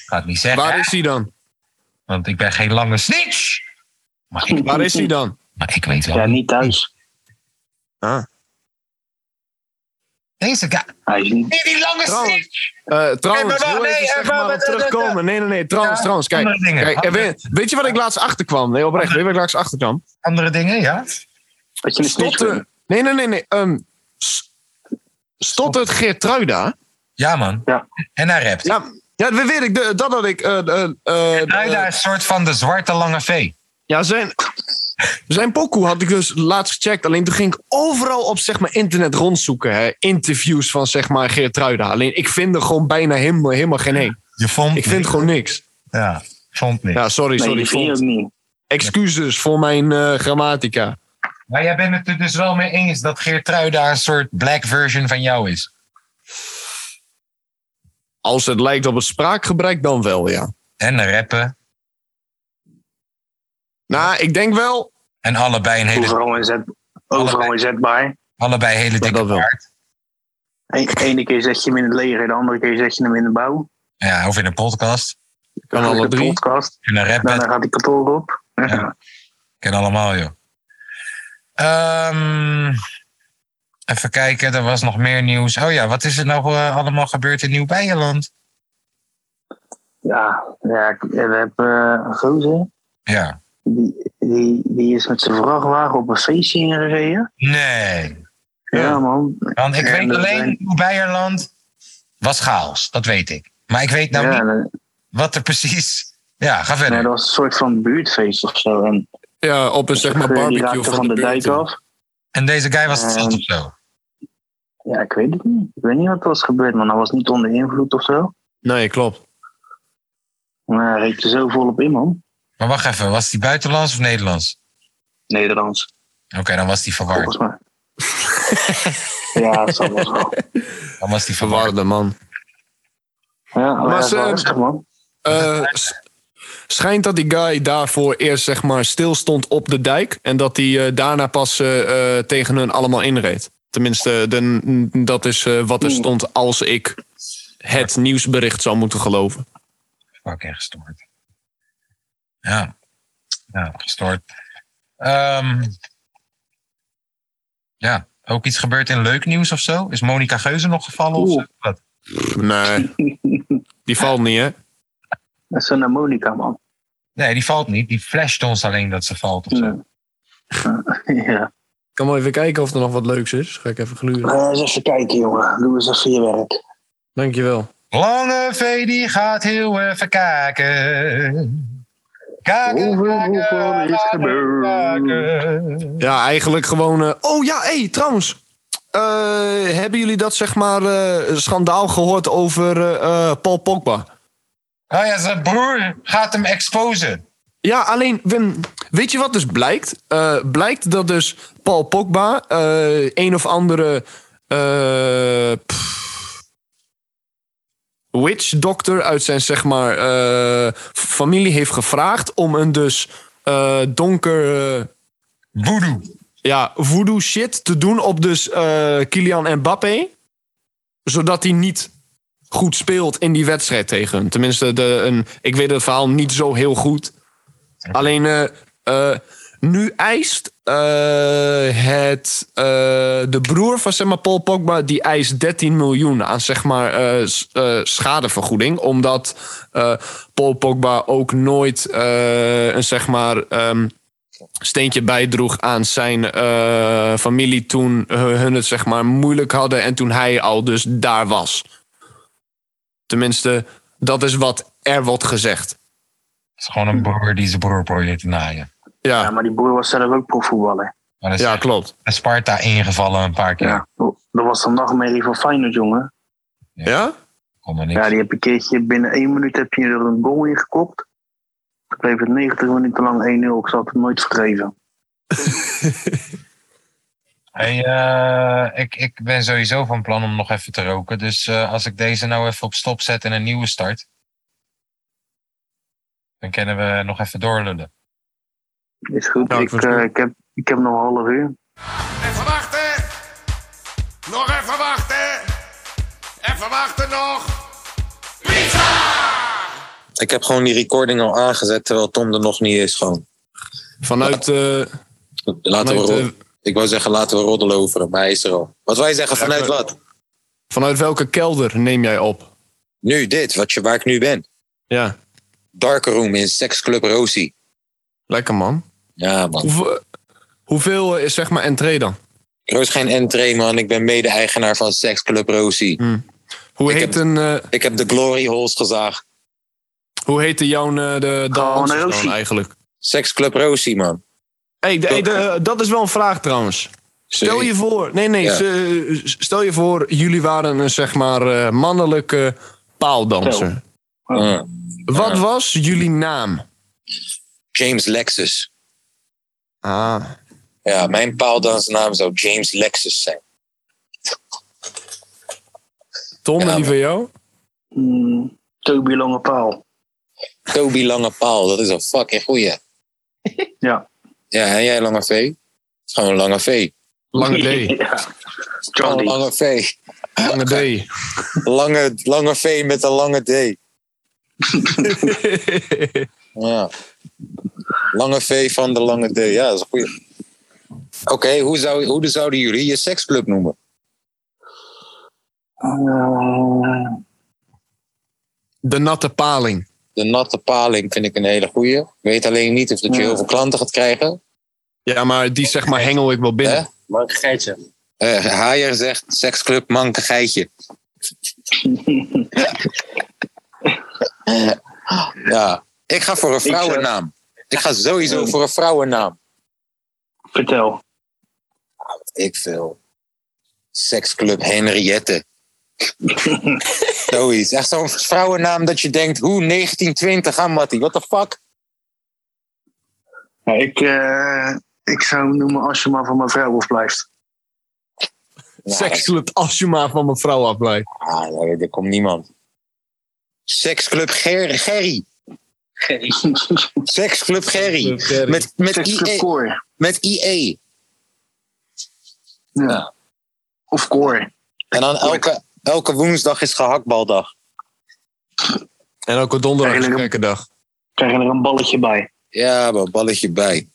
Ga het niet zeggen,
waar is hij dan?
want ik ben geen lange snitch. Maar ik
Waar is hij dan?
Maar ik weet wel.
Ja, niet thuis.
Deze guy.
Hij is niet...
Die, die lange
Trouwens,
snitch.
Eh, trouwens,
maar wacht,
heel
nee,
even
eh,
zeg
maar-
maar
maar-
op terugkomen. Nee, nee, nee. Trouwens,
Ja,
trouwens. Kijk,
andere dingen.
kijk eh, weet, weet je wat ik laatst achterkwam? Nee, oprecht. Weet je wat ik laatst achterkwam?
Andere dingen, ja.
Dat je een snitch bent.
Stotter. Nee, nee, nee, nee. ehm, s- stottert Geertruida.
Ja, man.
Ja.
En hij rapt.
Ja, ja dat weet ik. De- Dat had ik. eh, eh, eh,
Hij
eh,
daar een soort van de zwarte lange vee.
ja, zijn. Zijn pokoe had ik dus laatst gecheckt. Alleen toen ging ik overal op zeg maar, internet rondzoeken. Hè. Interviews van zeg maar, Geertruida. Alleen ik vind er gewoon bijna helemaal, helemaal geen heen.
Je vond
Ik vind gewoon niks.
Ja, vond niet.
Ja, sorry,
Nee,
sorry.
dat vind je ook
Font.
niet.
Excuses voor mijn eh, grammatica.
Maar jij bent het er dus wel mee eens dat Geertrui daar een soort black version van jou is.
Als het lijkt op het spraakgebrek, dan wel, ja.
En rappen.
Nou, ik denk wel
En allebei een hele,
Overal inzet, overal inzetbaar.
allebei hele dikke
dat wel.
baard.
E ene keer zet je hem in het leger, de andere keer zet je hem in de bouw.
Ja, of in een podcast.
Kan
Dan
alle
doet de
drie.
podcast.
In een rap
Daarna gaat hij kantoor op.
Ja. Ken allemaal, joh. Ehm, even kijken, er was nog meer nieuws. Oh ja, wat is er nou eh, allemaal gebeurd in Nieuw-Beierland?
Ja, ja ik- we hebben eh, een gozer.
Ja.
Die, die, die is met zijn vrachtwagen op een feestje ingereden.
Nee.
Ja, man.
Nou,
Want ik
Ja,
weet
dat
alleen,
zijn-
Nieuw-Beierland was chaos, dat weet ik. Maar ik weet nou
ja,
niet
dat,
wat er precies... Ja, ga
ja,
verder.
dat was een soort van buurtfeest of zo. En
Ja, op een zeg maar
die
barbecue
raakte
van,
van de,
buurt.
dijk af.
En deze guy was het
Ehm,
zat of zo.
Ja, ik weet het niet. Ik weet niet wat er was gebeurd, man. Hij was niet onder invloed of zo.
Nee, klopt.
Maar hij reed er zo volop in, man.
Maar wacht even, was die buitenlands of Nederlands?
Nederlands,
Oké, dan was die
Oh.
verward.
volgens mij. ja, dat zal wel zo.
Dan was die verward.
Verwarde man.
Ja, maar dat is wel
ze-
rustig, man.
Eh, s- schijnt dat die guy daarvoor eerst zeg maar stil stond op de dijk. En dat hij eh, daarna pas eh, eh, tegen hun allemaal inreed. Tenminste, eh, de, n- dat is eh, wat er
Hmm.
stond als ik het nieuwsbericht zou moeten geloven.
Fucking gestoord. Ja. Ja, gestoord. Ehm, ja, ook iets gebeurd in leuk nieuws of zo? Is Monica Geuze nog gevallen of zo? Wat?
Nee, eh, die valt niet, hè?
Dat is een Monica, man.
Nee, die valt niet. Die flasht ons alleen dat ze valt of zo.
Ja. Ja.
Ik kan wel even kijken of er nog wat leuks is. Ga ik even gluren.
Ga Eh, eens even kijken, jongen. Doe eens even je werk.
Dankjewel.
Lange V die gaat heel even kijken. Kijken,
Hoeveel-
kijken,
hoeveel is
kijken,
gebeurd?
kijken.
Ja, eigenlijk gewoon. eh, oh ja, hé, hey, trouwens. Eh, hebben jullie dat zeg maar eh, schandaal gehoord over eh, eh, Paul Pogba?
Oh ja, zijn broer gaat hem exposen.
Ja, alleen Wim, weet je wat dus blijkt? Eh, blijkt dat dus Paul Pogba eh, een of andere eh, pff, witch doctor uit zijn zeg maar eh, familie heeft gevraagd om een dus eh, donker eh,
Voodoo.
ja, voodoo shit te doen op dus eh, Kylian Mbappé. Zodat hij niet goed speelt in die wedstrijd tegen hem. Tenminste, de, een, ik weet het verhaal niet zo heel goed. Alleen eh, eh, nu eist eh, het, eh, de broer van zeg maar, Paul Pogba... die eist 13 miljoen aan zeg maar, eh, s- eh, schadevergoeding. Omdat eh, Paul Pogba ook nooit eh, een zeg maar... ehm, steentje bijdroeg aan zijn eh, familie toen hu- hun het zeg maar moeilijk hadden en toen hij al dus daar was. Tenminste, dat is wat er wordt gezegd.
Het is gewoon een broer die zijn broer probeert te naaien.
Ja,
Ja,
maar die broer was zelf ook profvoetballer.
Maar dan is
ja klopt.
bij Sparta ingevallen een paar keer.
Ja. Dat Oh, was dan nachtmerrie van Feyenoord, jongen.
Ja?
Kon er niks.
Ja, die heb een keertje binnen één minuut heb je er een goal in gekopt. Ik bleef het 90 minuten lang 1-0. Ik zal het hem nooit vergeven.
Hey, eh, ik, ik ben sowieso van plan om nog even te roken. Dus eh, als ik deze nou even op stop zet en een nieuwe start. Dan kunnen we nog even doorlullen.
Is goed.
Nou, ik
ik,
versta-
eh, ik, heb, ik heb nog een half uur.
Even wachten. Nog even wachten. Even wachten nog. Pizza!
Ik heb gewoon die recording al aangezet terwijl Tom er nog niet is. Gewoon.
Vanuit, eh,
Laten we
vanuit, eh,
roddelen. Ik wou zeggen, laten we roddelen over hem, maar hij is er al. Wat wij zeggen, vanuit
maar-
wat?
vanuit welke kelder neem jij op?
Nu dit, wat je, waar ik nu ben.
Ja,
Dark Room in Sex Club Rosie.
lekker man.
Ja, man.
Hoeveel, hoeveel is zeg maar entree dan?
Er is geen entree, man. Ik ben mede-eigenaar van Sex Club Rosie.
Hm. Hoe
Ik
heet,
heb-
een, eh,
Ik heb de glory holes gezaagd.
hoe heet de jouw eh, de dansers dan
Rosie.
eigenlijk?
Sex Club Rosie, man.
Hey, de- hey, de- eh, dat is wel een vraag trouwens. Stel je voor, nee, nee,
Ja.
ze- stel je voor, jullie waren een zeg maar eh, mannelijke paaldanser.
Ah,
Wat was jullie naam?
James Lexus.
Ah,
Ja, mijn paaldansnaam zou James Lexus zijn.
Tom,
Ja,
en die
man.
van jou?
Hmm, Toby Lange Paal.
Toby Lange Paal, dat is een fucking goeie.
Ja.
Ja, en jij Lange V? Het is gewoon Lange V.
Lange D.
ja.
Gewoon
Johnny.
Lange V.
Lange D.
Lange, lange V met een lange D. Ja. Lange V van de lange D. Ja, dat is een goeie. Oké, hoe, zou, hoe zouden jullie je seksclub noemen?
Eh,
De natte paling.
De natte paling vind ik een hele goeie. Ik weet alleen niet of dat je
Ja.
heel veel klanten gaat krijgen.
Ja, maar die zeg maar hengel ik wel binnen.
Hè? Eh, Haier zegt seksclub manke geitje. ja, ik eh, ga voor een
zou-
vrouwennaam. Ik ga sowieso voor een vrouwennaam.
vertel.
Ik wil seksclub Henriette. Zoiets. Echt zo'n vrouwennaam dat je denkt, hoe 1920 aan Mattie? What the fuck?
Ja, ik, eh, ik zou hem noemen als je maar van mijn vrouw afblijft.
Nou,
Seksclub, als je maar van mijn vrouw afblijft.
Ah, nee, er komt niemand. Seksclub Ger Gerry. Seksclub Gerry. Met, met,
Seksclub
IE.
Core.
met E. IE.
Ja.
Ja.
Of Core.
En dan elke, elke woensdag is gehaktbaldag.
En ook op donderdag is een
Eigenlijk-
gekke dag.
Krijg je er een balletje bij.
Ja, maar balletje bij.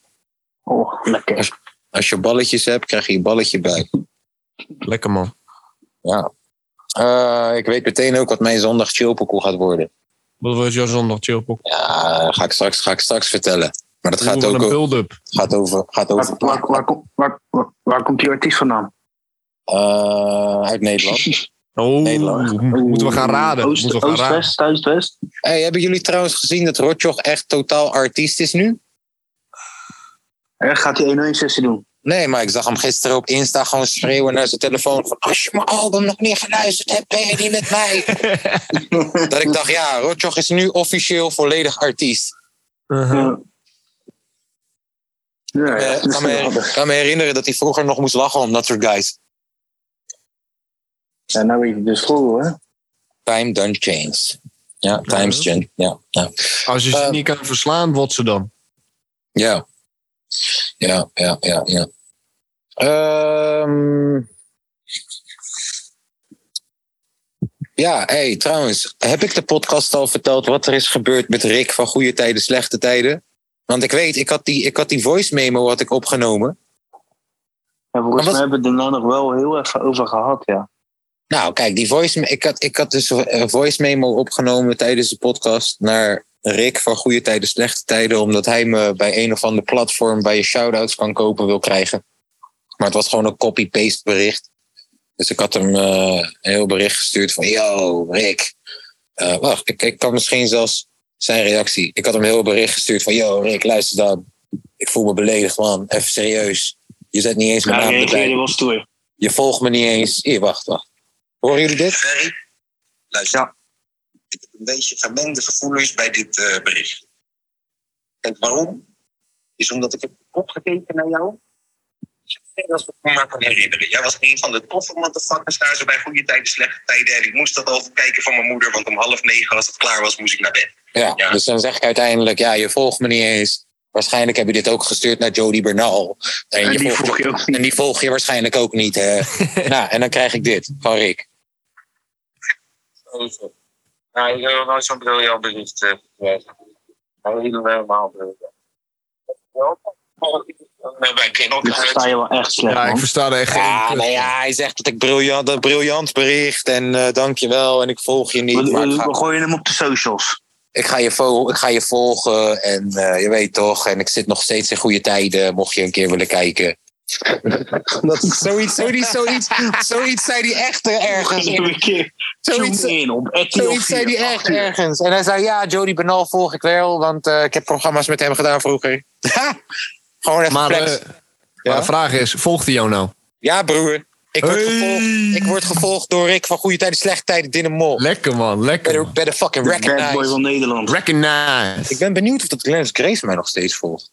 Oh, lekker.
Als je balletjes hebt, krijg je een balletje bij.
Lekker man.
Ja. Eh, ik weet meteen ook wat mijn zondag chillpokoe gaat worden.
Wat was jouw zondag, chillpok?
Ja, ga ik straks, ga ik straks vertellen. Maar dat gaat
Oeh, wat
ook
een
o-
build-up.
gaat over, gaat
Waar,
over
waar, waar, kom- waar, waar, waar komt die artiest vandaan?
Eh, uit Nederland.
Oeh,
Nederland.
Oh, moeten we gaan raden.
Oost-
moeten we gaan raden.
Oost-West, Zuidwest.
Hey, hebben jullie trouwens gezien dat Rotjoch echt totaal artiest is nu?
Er gaat hij 1-1 sessie doen.
Nee, maar ik zag hem gisteren op Insta gewoon schreeuwen naar zijn telefoon. Van, Als je mijn album nog niet geluisterd hebt, ben je niet met mij. dat ik dacht, ja, Rotjoch is nu officieel volledig artiest.
Uh-huh.
Ja. Ja,
Eh,
ja,
Ik kan, me, kan me herinneren dat hij vroeger nog moest lachen om dat soort guys.
Ja, nou weet je dus vroeger, hè?
Time done change. Ja, times change. Ja, ja.
Als je ze
Eh,
niet kan verslaan, wat ze dan?
Ja. Ja, ja, ja, ja. Eh, Ehm. ja, hey, trouwens. Heb ik de podcast al verteld wat er is gebeurd met Rick van Goede Tijden, Slechte Tijden? Want ik weet, ik had die, ik had die voice memo had ik opgenomen.
Ja,
Maar
volgens
wat-
mij hebben we het er nou nog wel heel even over gehad, ja.
eh, Nou, kijk, die voice, me- ik, had, ik had dus een voice memo opgenomen tijdens de podcast naar Rick van Goede Tijden Slechte Tijden, omdat hij me bij een of ander platform bij je shoutouts kan kopen wil krijgen. Maar het was gewoon een copy-paste bericht. Dus ik had hem eh, een heel bericht gestuurd van, yo Rick. Eh, wacht, ik, ik kan misschien zelfs zijn reactie. Ik had hem een heel bericht gestuurd van, yo Rick, luister dan. Ik voel me beledigd man, even serieus. Je zet niet eens mijn
Hij
naam
reageerde
erbij.
wel stoer.
Je volgt me niet eens. Hier, wacht, wacht. Horen jullie dit?
Ferry, luister. Ik heb een beetje gemengde gevoelens bij dit eh, bericht. En waarom? Is omdat ik heb opgekeken naar jou. Zover als ik me maar kan herinneren. Jij was een van de toffe motherfuckers daar zo bij goede tijden, slechte tijden. En ik moest dat al kijken van mijn moeder, want om half negen als het klaar was, moest ik naar bed.
Ja,
Ja.
dus dan zeg ik uiteindelijk, ja, je volgt me niet eens. Waarschijnlijk heb je dit ook gestuurd naar Jody Bernal. En, je
die
volgt-
volg je ook
en die volg je waarschijnlijk ook niet. Hè? nou, en dan krijg ik dit van Rick.
Nou, ik heb wel zo'n briljant bericht eh, gekregen. Helemaal briljant. Nou, Wij kennen
Dus sta je wel echt slecht,
Ja, ik
man.
versta er echt geen
Ja,
clue
maar
van.
Ah, ja, hij zegt dat ik briljant, dat briljant bericht en eh dankjewel en ik volg je niet.
We,
Maar ik
we- we
ga,
gooien hem op de socials.
ik ga, je, vol- ik ga je volgen en eh, je weet toch, en ik zit nog steeds in goede tijden, mocht je een keer willen kijken. dat, zoiets, zoiets, zoiets, zoiets zei hij echt ergens.
Een keer
Zoiets,
tune in op RTL
Zoiets zei
4.
hij echt ergens. En hij zei, ja, Jody Benal volg ik wel, want eh, ik heb programma's met hem gedaan vroeger. Gewoon echt
Maar, eh,
flex.
maar
Ja?
de vraag is, volgt hij jou nou?
Ja, broer. Ik word,
Hey.
gevolgd, ik word gevolgd door Rick van Goede Tijden, Slechte Tijden, Dinne Mol.
Lekker man, lekker.
Better,
man.
better fucking
De bad boy
recognize.
van Nederland.
Ik
Recognize.
ben benieuwd of dat Glennis Grace mij nog steeds volgt.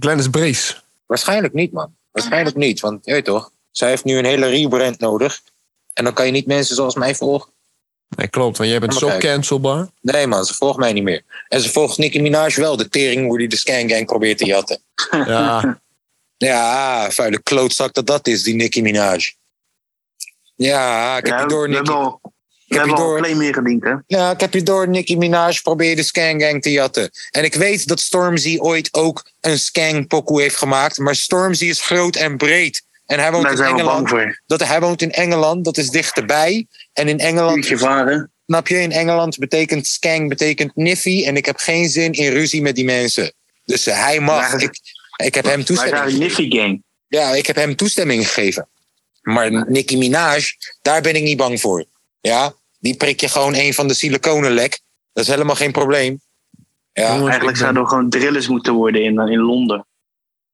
Glennis Brees.
Waarschijnlijk niet, man. Waarschijnlijk niet, want je weet toch, zij heeft nu een hele rebrand nodig. En dan kan je niet mensen zoals mij volgen.
Nee, klopt, want jij bent
Maar
zo
kijk.
cancelbaar.
Nee, man, ze volgt mij niet meer. En ze volgt Nicki Minaj wel, de tering hoe die de Scan Gang probeert te jatten.
Ja,
Ja, vuile klootzak dat dat is, die Nicki Minaj. Ja, ik heb
Ja,
je door,
we
Nicki.
hebben al, we
heb je
hebben al
door.
een claim ingediend, hè?
Ja, ik heb je door, Nicki Minaj probeer de Skangang te jatten. En ik weet dat Stormzy ooit ook een Skang-pokoe heeft gemaakt. Maar Stormzy is groot en breed. En hij woont
Daar
in
zijn we bang
Engeland.
voor.
Dat, hij woont in Engeland, dat is dichterbij. En in Engeland
Uurtje varen.
Snap je? In Engeland betekent skang, betekent niffy. En ik heb geen zin in ruzie met die mensen. Dus eh, hij mag.
Maar-
Ik, ik heb hem
Wij
toestemming
zijn een Niffy Gang.
Ja, ik heb hem toestemming gegeven. Maar Nicki Minaj, daar ben ik niet bang voor. Ja, die prik je gewoon een van de siliconenlek. Dat is helemaal geen probleem. Ja,
jongens,
Eigenlijk
ik ben-
zouden we gewoon drillers moeten worden in, eh, in Londen.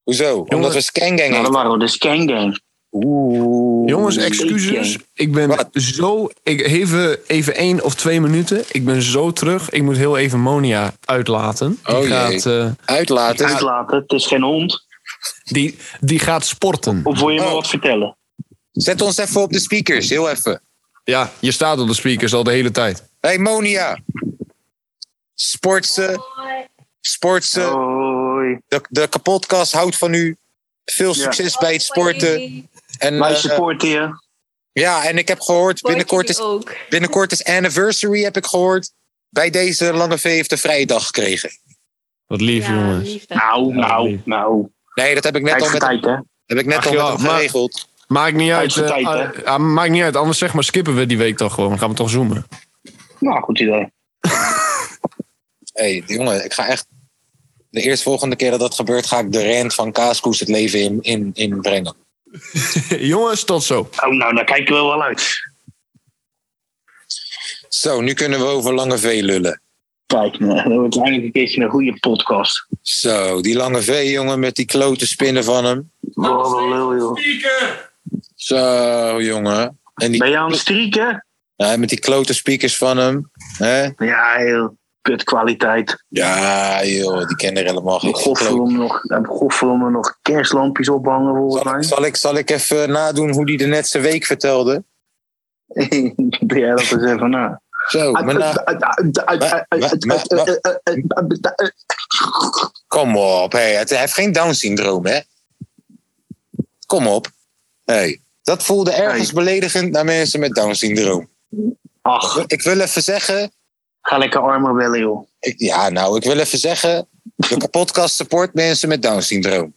hoezo? Omdat we skangang
Nou, dan
heten.
waren we de Skang Gang.
Oeh.
Jongens,
Oeh,
excuses.
zeker.
Ik ben
Wat?
zo. Ik, even, even één of twee minuten. Ik ben zo terug. Ik moet heel even Monia uitlaten. Die,
Oh, jee.
gaat, eh,
Uitlaten.
Uitlaten, het is geen hond.
die, die gaat sporten.
Of wil je me
Oh.
wat vertellen?
Zet ons even op de speakers, heel even.
Ja, je staat op de speakers al de hele tijd.
hey, Monia. Sportsen. Sportsen.
Hoi.
De, de kapotkast houdt van u. Veel
Ja.
succes bij het sporten. En,
Wij
eh,
supporten je.
ja, en ik heb gehoord, binnenkort is,
ook.
binnenkort is anniversary, heb ik gehoord. Bij deze Lange V heeft de vrije dag gekregen.
Wat lief, jongens.
liefde.
Nou, nou,
lief.
nou.
Nee, dat heb ik net
Tijd
al
voor
eh, met,
tijd, hè?
heb ik net
Ach
al met
ja,
hem
maar-
geregeld.
Maakt niet uit.
Tijd voor
eh,
tijd,
ah, ah, maakt niet uit. Anders zeg maar skippen we die week toch gewoon. Dan gaan we toch zoomen.
Nou, goed idee.
hey, jongen, ik ga echt... De eerstvolgende keer dat dat gebeurt, ga ik de rent van Kaaskoes het leven in, in, in brengen.
jongens, tot zo.
Oh, nou, daar kijken we wel uit.
Zo, nu kunnen we over Lange V lullen.
Kijk, nou, dat wordt eindelijk een keertje een goede podcast.
Zo, die Lange V, jongen, met die klote spinnen van hem.
Wat een lul, joh.
Zo, jongen. En die,
Ben je aan het strieken?
ja, met die klote speakers van hem. Hè?
Ja, heel kut kwaliteit.
Ja, joh, die kennen er helemaal geen kloot.
Godverdomme nog, eh, godverdomme nog kerstlampjes ophangen volgens
Zal, ik- zal, ik, zal ik even eh, nadoen hoe die de net zijn week vertelde?
mij. Doe jij dat eens even na.
Zo,
Oh,
maar na, Eh, kom op. Hey, het, hij heeft geen Down-syndroom, hè? Kom op. Hey, dat voelde ergens beledigend naar mensen met Down-syndroom.
Ach,
Ik wil even zeggen...
ga lekker armen bellen joh.
Ik, ja, nou, ik wil even zeggen... De podcast support mensen met Down-syndroom.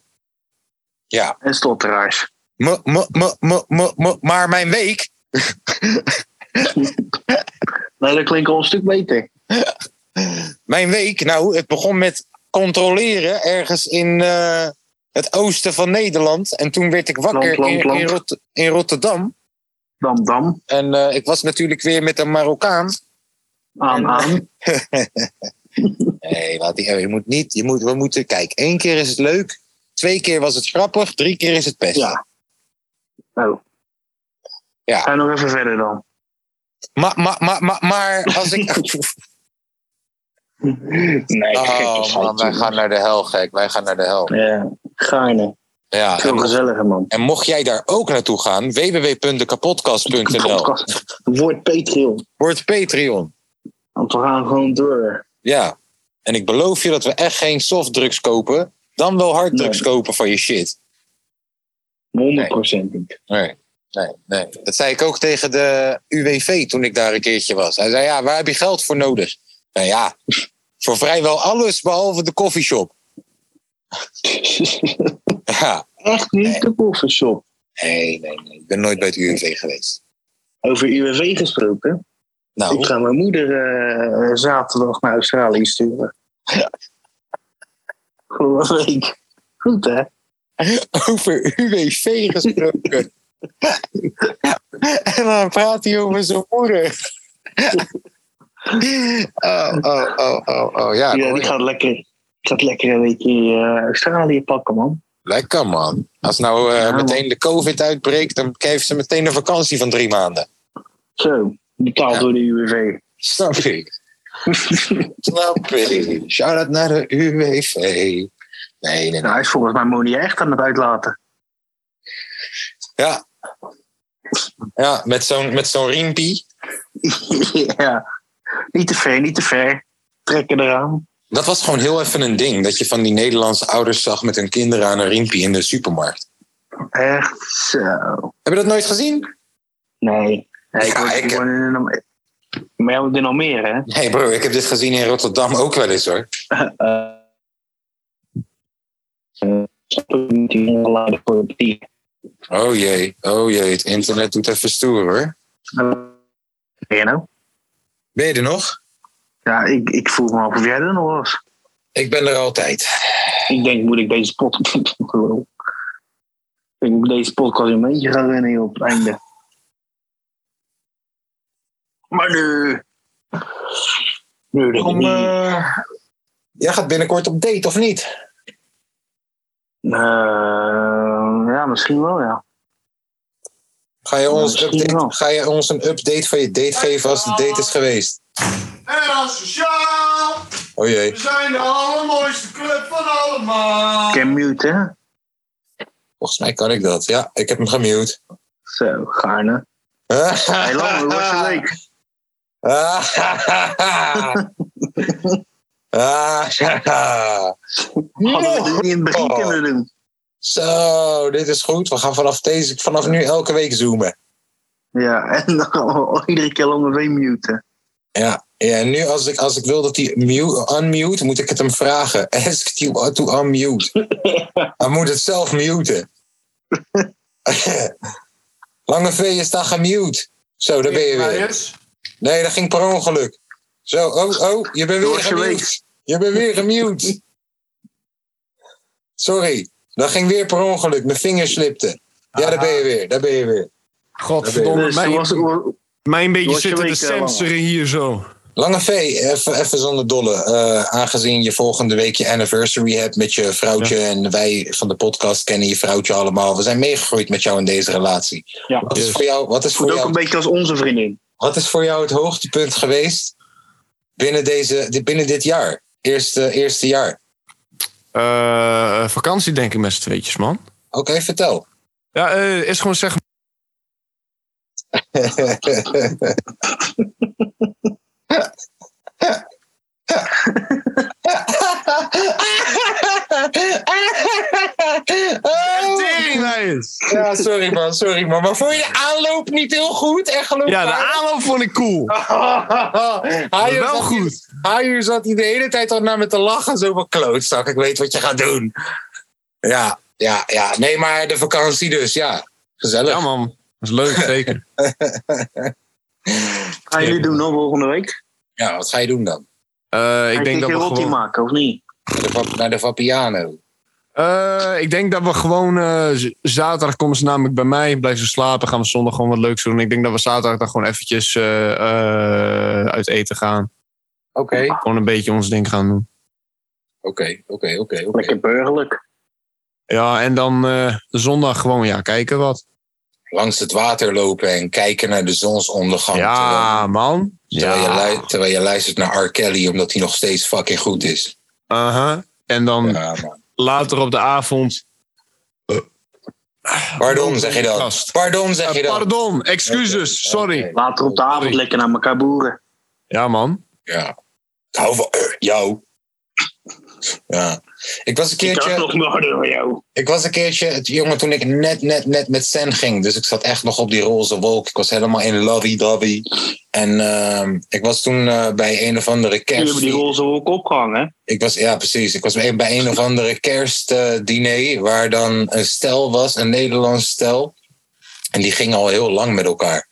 Ja.
En stotteraars.
M- m- m- m- m- m- maar mijn week.
Nee, dat klinkt al een stuk beter.
Mijn week, nou, het begon met controleren ergens in eh, het oosten van Nederland. En toen werd ik wakker
Land, land,
in, In,
land.
Rot- in Rotterdam.
Dam, dam.
En eh, ik was natuurlijk weer met een Marokkaan.
Aan, aan.
Nee, laat die, je moet niet. Je moet, we moeten, kijk, één keer is het leuk. Twee keer was het grappig. Drie keer is het pesten.
Ja. Oh.
Ja.
Ga nog even verder dan.
Maar, maar, maar, maar, maar als ik.
Nee,
oh man, wij gaan naar de hel, gek. Wij gaan naar de hel.
Ja, gaarne.
Ja, en,
Veel
mocht-
gezelliger, man.
en mocht jij daar ook naartoe gaan, www.dekapodcast.nl.
Podcast. Word Patreon.
Word Patreon.
Want we gaan gewoon door.
Ja. En ik beloof je dat we echt geen softdrugs kopen, dan wel harddrugs
Nee.
kopen van je shit.
100% niet.
Nee. Nee, nee. Dat zei ik ook tegen de UWV toen ik daar een keertje was. Hij zei: Ja, waar heb je geld voor nodig? Nou ja, voor vrijwel alles behalve de koffieshop. Ja.
Echt niet de koffieshop.
Nee, nee, nee. Ik ben nooit bij het UWV geweest.
Over UWV gesproken. Ik
Nou,
ga mijn moeder eh, zaterdag naar Australië sturen. Goeie week. Goed, hè?
over UWV gesproken. en dan praat hij over zijn moeder. oh, oh, oh, oh, oh. Ja,
Ja, die gaat lekker, gaat lekker een beetje eh, Australië pakken, man.
lekker man. Als nou eh,
Ja, man.
meteen de COVID uitbreekt, dan heeft ze meteen een vakantie van drie maanden.
Zo, betaald
Ja.
door de UWV.
Snap ik. Snap ik. Shout-out naar de UWV. Nee, nee, nee.
nou, hij is volgens mij Moni echt aan het uitlaten.
Ja. Ja, met zo'n met zo'n riempie.
ja, niet te ver, niet te ver. Trekken eraan.
Dat was gewoon heel even een ding. Dat je van die Nederlandse ouders zag met hun kinderen aan een riempie in de supermarkt.
Echt zo.
Heb je dat nooit gezien?
Nee. nee ik
Ja,
woon- ik
ik-
woon in Almere. Maar jij woont in Almere, hè?
Nee bro, ik heb dit gezien in Rotterdam ook wel eens hoor.
Eh, Snap ik niet, die ongeladen voor de die.
Oh jee, oh jee, het internet doet even stoer hoor.
Ben je nou?
Ben je er nog?
Ja, ik, ik vroeg me af of jij er nog was.
Ik ben er altijd.
Ik denk, moet ik deze podcast... Ik denk, moet deze podcast een beetje gaan rennen joh, op het einde. Maar nu... Nu dat ik
Kom,
niet...
eh, jij gaat binnenkort op date of niet?
Eh, ja, misschien wel, ja.
Ga je, ons
Misschien
update,
wel.
ga je ons een update van je date geven als de date is geweest?
En asociaal,
Oh jee.
we zijn de allermooiste club van allemaal.
Can mute, hè?
Volgens mij kan ik dat. Ja, ik heb hem gemute.
Zo, gaarne. Hey, lang, hoe was je week? Hadden we dit niet in het begin kunnen doen?
Zo, dit is goed. We gaan vanaf, deze, vanaf nu elke week zoomen.
Ja, en dan gaan we iedere keer lang weer muten.
Ja, ja en nu als ik, als ik wil dat hij mute, unmute, moet ik het hem vragen. Ask you to unmute. Hij moet het zelf muten. Lange V, je staat gemute. Zo, daar ben je weer. Nee, dat ging per ongeluk. Zo, oh, oh, je bent
Door
weer
zijn
gemute. Je bent weer gemute. Sorry, dat ging weer per ongeluk. Mijn vinger slipte. Ja, daar ben je weer, daar ben je weer.
Godverdomme,
Dus toen was
mij,
het...
mij een beetje
was je
zitten de
week, eh, langer?
sensoren hier zo.
Lange V, even, even zonder dolle. Eh, aangezien je volgende week je anniversary hebt met je vrouwtje. En wij van de podcast kennen je vrouwtje allemaal. We zijn meegegroeid met jou in deze relatie.
Ja.
Wat, is voor jou, wat, is voor
Voelt ook een
jou,
beetje als onze vriendin.
wat is voor jou het hoogtepunt geweest binnen, deze, di- binnen dit jaar? Eerste, eerste jaar.
Eh, vakantie denk ik met z'n tweetjes, man.
Oké, vertel.
Ja, eh, is gewoon zeg
Oh! ja, sorry man, sorry man. Maar vond je de aanloop niet heel goed en geloof
Ja, de aanloop vond ik cool.
Haier
Wel
zat
goed.
Hier, Haier zat hier de hele tijd al naar me te lachen. Zo van klootzak, ik weet wat je gaat doen. Ja, ja, ja. Nee, maar de vakantie dus, ja. Gezellig.
Ja, man. Dat is leuk, zeker. Eh,
Ga je nu doen dan volgende week?
Ja, wat ga je doen dan?
Eh, Eh, ik
Hij
denk
ging
dat we
geen rotti
gewoon...
maken, of niet?
De Vap- naar de Vapiano.
Eh, ik denk dat we gewoon... eh, z- zaterdag komen ze namelijk bij mij. Blijven ze slapen. Gaan we zondag gewoon wat leuks doen. Ik denk dat we zaterdag dan gewoon eventjes eh, eh, uit eten gaan.
Oké, oké,
Gewoon een beetje ons ding gaan doen.
oké, oké. oké.
Lekker burgerlijk.
Ja, en dan eh, zondag gewoon ja, kijken wat.
Langs het water lopen en kijken naar de zonsondergang.
Ja, man.
Terwijl, terwijl
Ja.
je lu- terwijl je luistert naar R. Kelly omdat hij nog steeds fucking goed is.
Aha. En dan
Ja, man.
later op de avond.
Pardon, zeg je dan.
Gast.
Pardon, zeg je
Eh,
dan.
pardon, excuses, sorry.
Later op de avond lekker naar elkaar boeren.
Ja, man.
Ja. Ik hou van eh, jou. Ja. Ik was een
Ik had
keertje,
nog nodig van jou.
ik was een keertje, het jongen, toen ik net, net, net met Sen ging. Dus ik zat echt nog op die roze wolk. Ik was helemaal in lovey-dovey. En ehm, ik was toen eh, bij een of andere
Jullie hebben
kerst.
die roze wolk opgehangen, hè?
Ik was, ja, precies. Ik was bij een- bij een of andere kerstdiner waar dan een stel was, een Nederlands stel. En die gingen al heel lang met elkaar.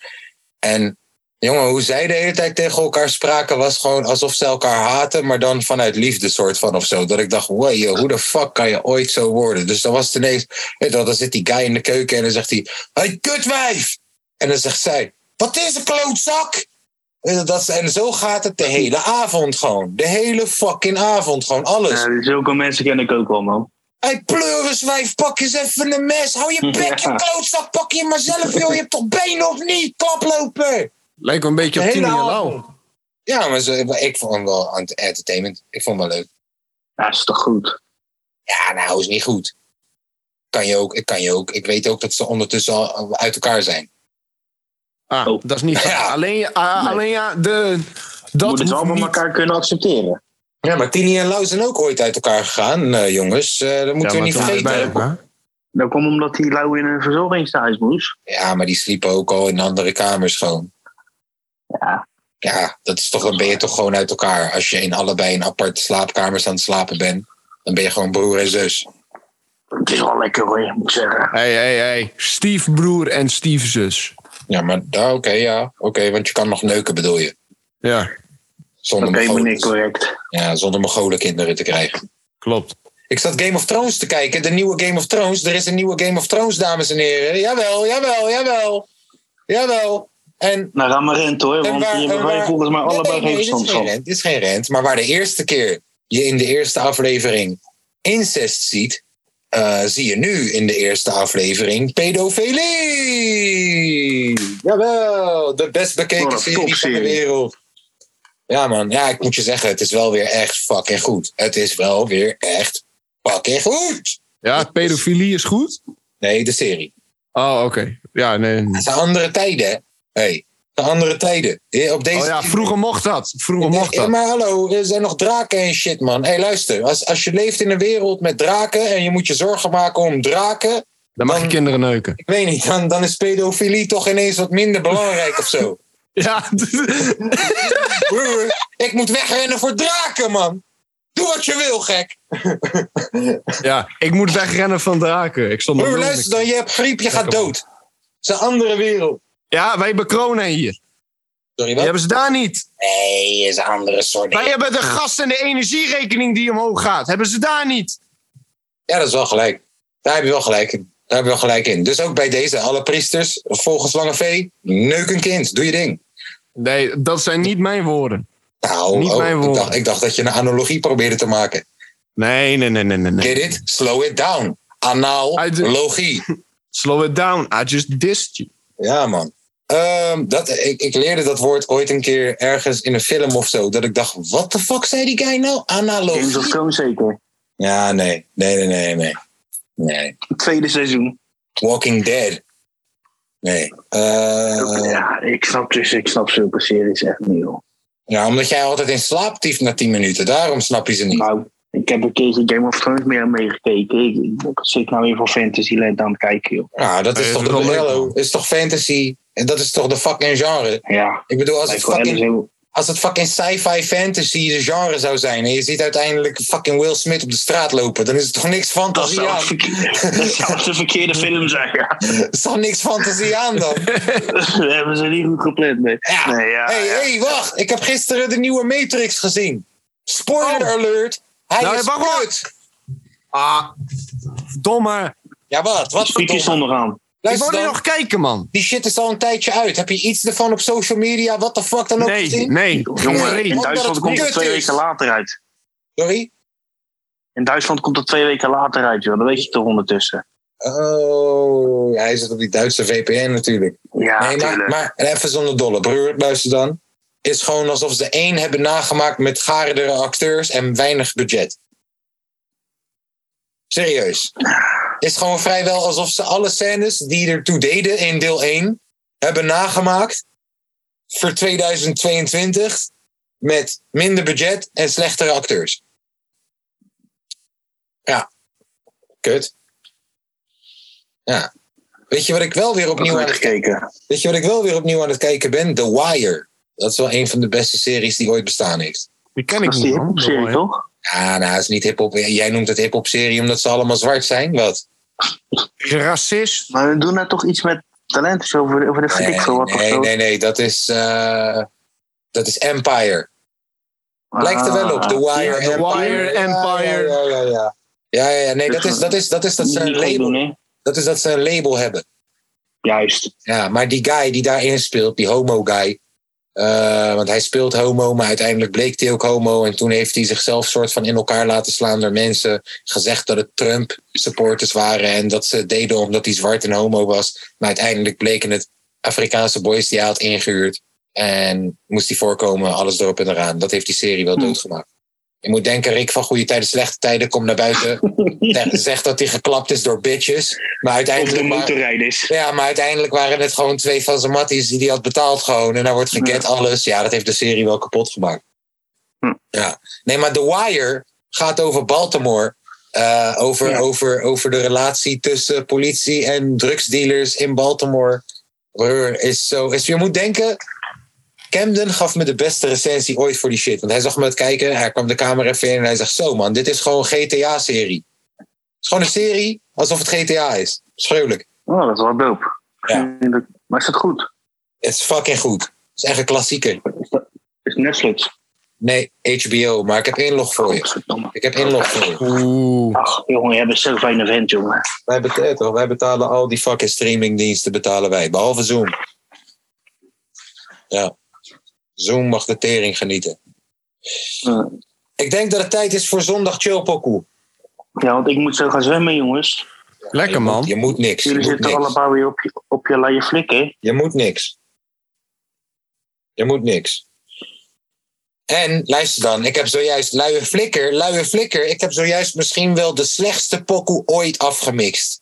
En jongen, hoe zij de hele tijd tegen elkaar spraken, was gewoon alsof ze elkaar haten, maar dan vanuit liefde soort van of zo. Dat ik dacht, wow, joh, hoe de fuck kan je ooit zo worden? Dus dan was het ineens, weet je wel, dan zit die guy in de keuken en dan zegt hij, hey kutwijf! En dan zegt zij, wat is een klootzak? Weet je, Dat, is- en zo gaat het de hele avond gewoon. De hele fucking avond gewoon, alles.
Ja, zulke mensen ken ik ook wel, man.
Hey, pleuriswijf, pak eens even een mes. Hou je bek, je
Ja.
klootzak, pak je maar zelf, joh. Je hebt toch benen of niet? Klaploper!
Lijkt me een beetje op
De hele
Tini en
avond.
Lau.
Ja, maar ze- maar ik vond hem wel ent- entertainment. Ik vond hem wel leuk.
Ja, is toch goed?
Ja, nou, is niet goed. Kan je ook, ik kan je ook. Ik weet ook dat ze ondertussen al uit elkaar zijn.
Ah,
Oh.
dat is niet.
Ja.
Alleen, ah,
Nee.
alleen ja, de. Dat
Moet het wel
hoeft
met
niet.
elkaar kunnen accepteren.
Ja, maar Tini en Lau zijn ook ooit uit elkaar gegaan, eh, jongens. Eh, dat moeten
Ja,
we
maar
niet
toen was het bij
vergeten.
elkaar.
Dat komt omdat die lauw in een verzorgingshuis moest.
Ja, maar die sliepen ook al in andere kamers gewoon.
Ja.
Ja, dat is toch, dan ben je toch gewoon uit elkaar. Als je in allebei in aparte slaapkamers aan het slapen bent, dan ben je gewoon broer en zus.
Het is wel lekker hoor, moet ik zeggen.
Hey, hey, hey. Stiefbroer en stiefzus.
Ja, maar ja, oké, ja. Oké, want je kan nog neuken, bedoel je.
Ja,
Zonder,
Dat deed me
Mongolen-
niet correct.
ja, zonder Mongolen kinderen te krijgen.
klopt.
Ik zat Game of Thrones te kijken, de nieuwe Game of Thrones. Er is een nieuwe Game of Thrones, dames en heren. Jawel, jawel, jawel. Jawel. En
Nou, ga maar rent hoor, want
waar-
hier hebben
en
wij
waar-
volgens mij
Nee,
allebei
nee,
geen
nee, dit is
verstand
geen
van.
rent. Dit is geen rent. Maar waar de eerste keer je in de eerste aflevering incest ziet, eh, zie je nu in de eerste aflevering pedofilie. Jawel, de best
Wat
bekeken
een
serie van de
topserie.
wereld. Ja man, ja, ik moet je zeggen, het is wel weer echt fucking goed. Het is wel weer echt fucking goed.
Ja, pedofilie is goed.
Nee, de serie.
Oh, oké. Ja, nee.
Het zijn andere tijden, hè. Hey, de andere tijden. Eh, Op deze
Oh ja, vroeger mocht dat. Vroeger mocht
Ja,
dat.
Eh, maar hallo, er zijn nog draken en shit, man. Hé, hey, luister. Als, als je leeft in een wereld met draken en je moet je zorgen maken om draken...
Dan mag je kinderen neuken.
Ik weet niet, dan, dan is pedofilie toch ineens wat minder belangrijk of zo.
Ja,
Broer, ik moet wegrennen voor draken, man. Doe wat je wil, gek.
ja, ik moet wegrennen van draken. Ik stond
Broer,
nog
luister
nooit-
dan, je hebt griep, je gaat
Lekker, man.
dood. Het is een andere wereld.
Ja, wij bekronen hier.
Sorry,
Die
wat?
hebben ze daar niet.
Nee, het is een andere soort.
Wij hebben de gas- en de energierekening die omhoog gaat. Hebben ze daar niet.
Ja, dat is wel gelijk. Daar heb je wel gelijk in. Daar heb je wel gelijk in. Dus ook bij deze, alle priesters, volgens Lange V, neuk een kind. Doe je ding.
Nee, dat zijn niet mijn woorden.
Nou,
Niet
oh,
mijn
ik,
woorden.
dacht, ik dacht dat je een analogie probeerde te maken.
Nee, nee, nee, nee, nee. nee.
Get it? Slow it down.
Uit de-
Analogie.
Slow it down. I just dissed you.
Ja, man. Ehm, dat, ik, ik leerde dat woord ooit een keer ergens in een film of zo. Dat ik dacht, wat de fuck zei die guy nou?
Games of
Analogie.
Thrones zeker.
Ja, nee. Nee, nee, nee, nee. Nee.
Tweede seizoen.
Walking Dead. Nee. Eh
Ja, ik snap dus, ik snap zulke series echt niet joh.
ja, omdat jij altijd in slaap tieft na 10 minuten. Daarom snap je ze niet.
Nou, ik heb een keertje Game of Thrones meer meegekeken. Ik, ik zit nou weer voor Fantasyland aan het kijken joh.
Nou, dat is
Nee,
toch
dat
de
is wel leuk,
Bello.
man.
is toch fantasy? En dat is toch de fucking genre?
Ja,
Ik bedoel, als het
lijkt wel
fucking
ergens heel...
als het fucking sci-fi fantasy de genre zou zijn en je ziet uiteindelijk fucking Will Smith op de straat lopen, dan is het toch niks
Dat
fantasie
zou,
aan?
het verkeerde, dat zou de verkeerde film zijn, ja.
Er is toch niks fantasie aan dan?
Dat hebben ze niet goed gepland, nee.
Ja.
Nee, ja,
hey, eh,
ja.
hey, wacht, ik heb gisteren de nieuwe Matrix gezien. Spoiler alert. Hij
Oh. Nou,
is
wacht, wacht.
kut.
Ah, domme.
Ja, wat? Wat voor
Spiekjes
dom?
onderaan.
Ik
Luister
wou er
dan.
nog kijken, man.
Die shit is al een tijdje uit. Heb je iets ervan op social media? Wat de fuck dan ook
Nee,
gezien?
nee.
Jongen,
Nee,
in
omdat
Duitsland
het
komt
kut
het twee
is.
weken later uit.
Sorry?
In Duitsland komt het twee weken later uit, joh. Dat weet je toch ondertussen.
Oh, ja, hij zit op die Duitse VPN natuurlijk.
Ja,
nee, maar,
tuurlijk.
maar even zonder dolle. Broer, luister dan. Is gewoon alsof ze één hebben nagemaakt met gaardere acteurs en weinig budget. Serieus. Is gewoon vrijwel alsof ze alle scènes die ertoe deden in deel 1 hebben nagemaakt voor 2022 met minder budget en slechtere acteurs. Ja. Kut. Ja. Weet je wat ik wel weer
Dat
opnieuw aan
werd
het
gekeken.
Weet je wat ik wel weer opnieuw aan het kijken ben? The Wire. Dat is wel een van de beste series die ooit bestaan heeft.
Die ken ik
Dat is die
niet, man.
hiphop-serie, toch?
Ja, nou, het is niet hip-hop. Jij noemt het hip-hop serie omdat ze allemaal zwart zijn. Wat?
Racist.
Maar we doen daar toch iets met talenten over, over de
Nee,
flik voor wat of
nee,
zo.
nee, nee. Dat is, eh, dat is Empire. Lijkt er wel op. The
Ah,
Wire,
The Wire, Empire.
Ja, ja, ja. ja. Ja, ja, ja, nee, dat is dat, is, dat, is dat, ze
niet-
een
niet goed
label,
doen, hè?
dat is dat ze een label hebben.
Juist.
Ja, maar die guy die daarin speelt, die homo-guy. eh, want hij speelt homo, maar uiteindelijk bleek hij ook homo. En toen heeft hij zichzelf soort van in elkaar laten slaan door mensen. Gezegd dat het Trump-supporters waren en dat ze het deden omdat hij zwart en homo was. Maar uiteindelijk bleken het Afrikaanse boys die hij had ingehuurd. En moest hij voorkomen, alles erop en eraan. Dat heeft die serie wel
Hm.
doodgemaakt. Je moet denken, Rick van Goede Tijden, Slechte Tijden, komt naar buiten. Zeg- Zegt dat hij geklapt is door bitches. Maar
Of de
uiteindelijk... maar-
motorrijders.
ja, maar uiteindelijk waren het gewoon twee van zijn matties die hij had betaald gewoon. En daar wordt geget alles. Ja, dat heeft de serie wel kapot gemaakt.
Hm.
Ja. Nee, maar The Wire gaat over Baltimore. Eh, over,
Ja.
over, over de relatie tussen politie en drugsdealers in Baltimore. Brr, is zo, is, je moet denken, Camden gaf me de beste recensie ooit voor die shit. Want hij zag me het kijken, hij kwam de camera even in en hij zegt... Zo man, dit is gewoon een GTA-serie. Het is gewoon een serie alsof het GTA is. Schreeuwelijk.
Oh, dat is wel dope.
Ja.
Maar is dat goed?
Het is fucking goed. Het is echt een klassieker.
Is Netflix.
Nee, HBO, maar ik heb inlog voor je.
Godverdomme.
Ik heb inlog voor je.
Oeh.
Ach, jongen, jij bent zo fijne vent, jongen.
Wij betalen, toch? wij betalen al die fucking streamingdiensten, betalen wij. Behalve Zoom. Ja. Zoom mag de tering genieten.
Ja.
Ik denk dat het tijd is voor zondag chillpokoe.
Ja, want ik moet zo gaan zwemmen, jongens.
Lekker,
Je moet-
man.
Je moet niks. Je
Jullie
moet
zitten
niks.
allemaal weer op je, op je laaie flikken.
Je moet niks. Je moet niks. En luister dan, ik heb zojuist luie flikker, luie flikker. Ik heb zojuist misschien wel de slechtste pokoe ooit afgemixt.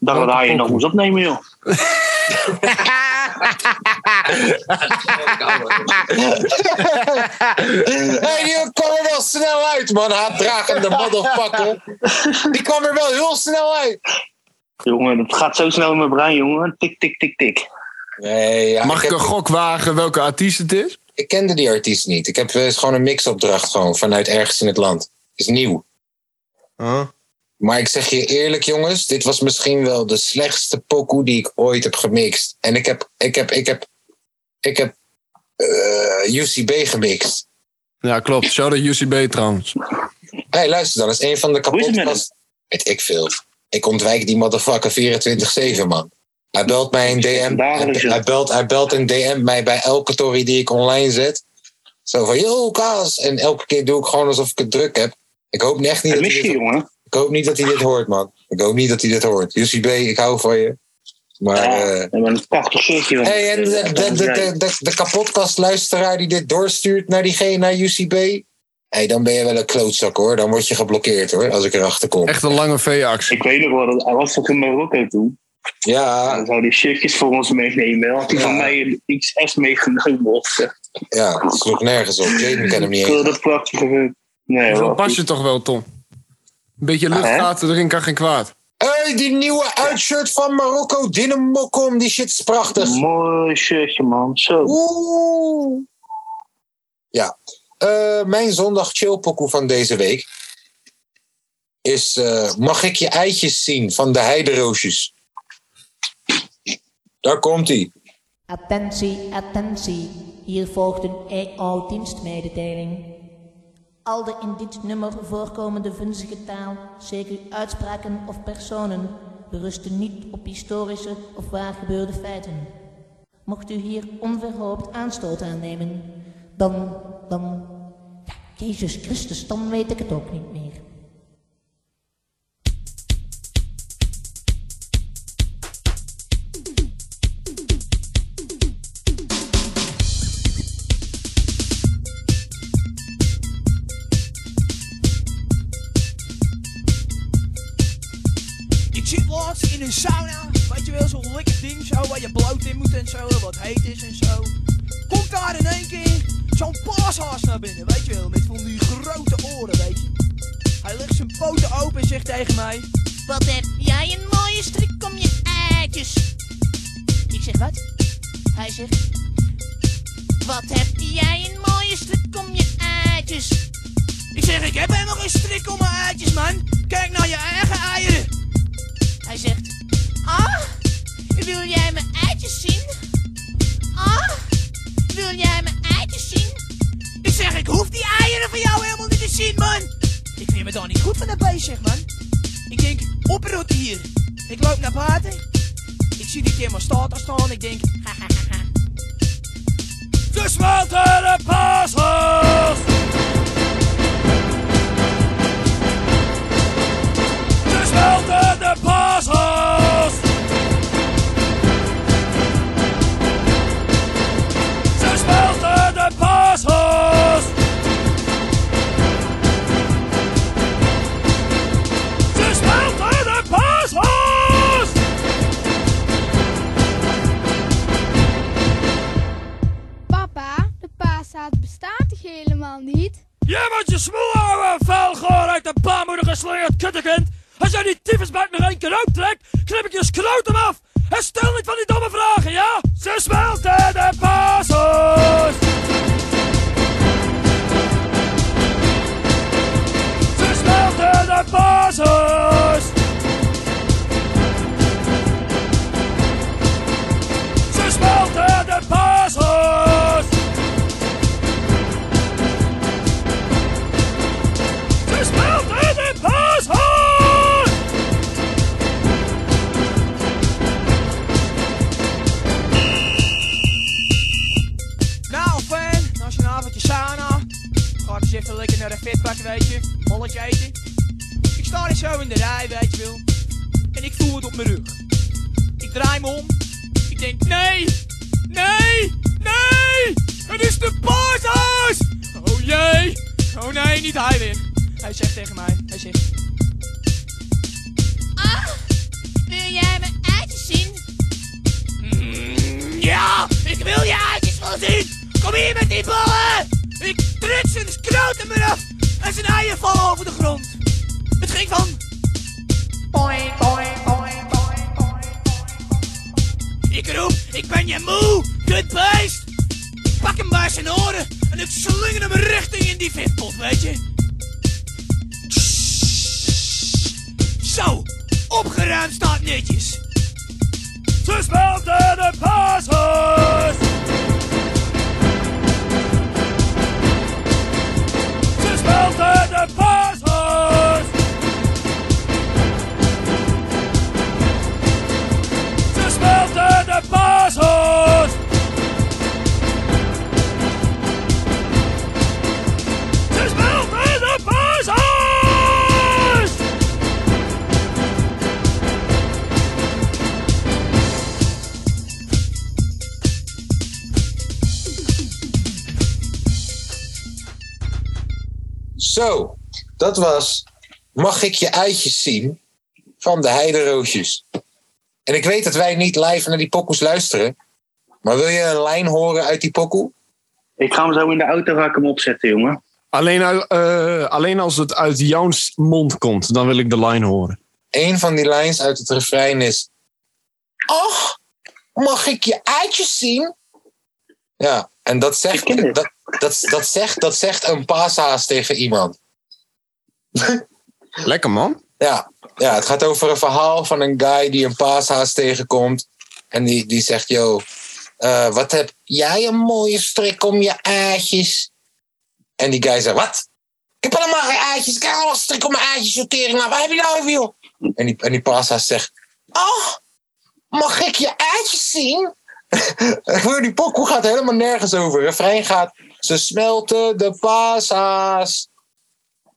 Dan ga je nog moest opnemen, joh.
Eh.
Hey, die kwam er wel snel uit, man. Haatdragende motherfucker. Die kwam er wel heel snel uit.
Jongen, dat gaat zo snel in mijn brein, jongen. Tik, tik, tik, tik.
Nee, ja,
Mag
ik,
ik een
heb-
gok wagen welke artiest het is?
ik kende die artiest niet. Ik heb eh, is gewoon een mixopdracht gewoon, vanuit ergens in het land. Is nieuw. Maar ik zeg je eerlijk, jongens, dit was misschien wel de slechtste pokoe die ik ooit heb gemixt. En ik heb, ik heb, ik heb, ik heb eh, UCB gemixt.
Ja, klopt. Shout out UCB trouwens.
Hé, hey, luister dan, dat is een van de
Hoe is het met hem?
kapotkast. Weet ik veel. Ik ontwijk die motherfucker 24-7, man. Hij belt mij een DM.
Dagelijks,
Hij,
joh.
hij belt, hij belt een DM mij bij elke tory die ik online zet. Zo van, yo, Kaas. En elke keer doe ik gewoon alsof ik het druk heb. Ik hoop echt niet
Dat
dat
mis
hij
je,
dit
jongen.
Ik hoop niet dat hij dit hoort, man. Ik hoop niet dat hij dit hoort. UCB, ik hou van je. Maar.
Ja,
eh
ik ben een prachtig shirtje. man.
hey, en de, de, de, de, de, de kapotkastluisteraar die dit doorstuurt naar diegene, naar UCB. hey, dan ben je wel een klootzak hoor. Dan word je geblokkeerd hoor, als ik erachter kom.
Echt een lange V-actie.
Ik weet nog wel, dat- hij was toch in Marokko toen.
Ja,
Dan zou die shirtjes voor ons meenemen. Had hij
Ja.
van mij een XS meegenomen of zo.
ja, het sloeg nergens op. Jaden kan hem niet
Ik wil
eens.
dat prachtige vent. Nee,
Zo
wel.
pas je toch wel, Tom? Een beetje
hè?
luchtgaten erin kan geen kwaad.
hey, die nieuwe uitshirt van Marokko, Dinamokkom, die shit is prachtig.
Mooi shirtje, man. Zo.
Oeh. Ja. Eh, mijn zondag chillpokoe van deze week is... eh, mag ik je eitjes zien van de heideroosjes? Daar komt-ie.
Attentie, attentie.
Hier volgt een EO-dienstmededeling. Al de in dit nummer voorkomende vunzige taal, zeker uitspraken of personen, berusten niet op historische of waargebeurde feiten. Mocht u hier onverhoopt aanstoot aannemen, dan, dan, ja, Jezus Christus, dan weet ik het ook niet meer.
Ik zit laatst in een sauna, weet je wel, zo'n lekker ding zo, waar je bloot in moet en zo, en wat heet is en zo. Komt daar in één keer zo'n paashaas naar binnen, weet je wel, met van die grote oren, weet je. Hij legt zijn poten open en zegt tegen mij,
Wat heb jij een mooie strik om je eitjes? Ik zeg wat? Hij zegt. Wat heb jij een mooie strik om je eitjes?
ik zeg, ik heb helemaal geen strik om mijn eitjes, man. Kijk naar je eigen eieren.
Hij zegt, ah, wil jij mijn eitjes zien? Ah, wil jij mijn eitjes zien?
Ik zeg, ik hoef die eieren van jou helemaal niet te zien, man. Ik vind me daar niet goed van dat beest, zeg, man. Ik denk, oprot hier. Ik loop naar buiten. Ik zie die keer mijn starter staan. Ik denk, hahaha. Gesmolten paashaas!
Gesmolten paashaas! Ze smelten de paashaas! Ze smelten de paashaas!
Papa, de paashaas bestaat toch helemaal niet?
Jij moet je smoel houden, vuilgoor uit de baarmoeder geslingerd kuttekind! Als jij die tyfusbuik nog één keer uittrekt, knip ik je scrotum af! En stel niet van die domme vragen, ja? Ze smelten de paashoes! Ze smelten de paashoes! Ze smelten de paashoes! Ze smelten de paashoes!
Nou, fan, als je een avondje sauna. Ga ik eens even lekker naar de vetbak, weet je. Bolletje eten. Ik sta er zo in de rij, weet je wel. En ik voel het op mijn rug. Ik draai me om. Ik denk, nee! Nee! Nee! Het is de paashuis! Oh jee! Oh nee, niet hij weer. Hij zegt tegen mij, hij zegt...
Ah, wil jij mijn eitjes zien?
Mm, Ja, ik wil je eitjes wel zien! Kom hier met die ballen! Ik trek zijn skroten me af en zijn eieren vallen over de grond. Het ging van... Boing, boing, boing, boing, boing, boing. Ik roep, ik ben je moe, kut beest! Ik pak hem bij zijn oren en ik slinger hem richting in die vetpot, weet je? Zo, opgeruimd staat netjes.
Ze smelten de paashoes. Ze smelten de paashoes. Ze smelten de paashoes. Ze smelten de paashoes.
Zo, dat was Mag ik je eitjes zien? van de Heideroosjes. En ik weet dat wij niet live naar die pokoes luisteren. Maar wil je een lijn horen uit die pokoe?
Ik ga hem zo in de auto ga ik hem opzetten, jongen.
Alleen, uit- eh, alleen als het uit Jouns mond komt, dan wil ik de line horen.
Eén van die lines uit het refrein is... Ach, mag ik je eitjes zien? Ja, en dat zegt, dat, dat, dat zegt, dat zegt een paashaas tegen iemand.
Lekker man.
Ja, ja, het gaat over een verhaal van een guy die een paashaas tegenkomt. En die, die zegt, yo, eh, wat heb jij een mooie strik om je aardjes? En die guy zegt, wat? Ik heb allemaal geen aardjes. Ik heb allemaal strik om mijn aardjes sorteren. Nou, waar heb je nou over, joh? En die, en die passa zegt, oh, mag ik je aardjes zien? Ik hoor, die pokoe gaat helemaal nergens over. Refrein gaat, ze smelten de passa's.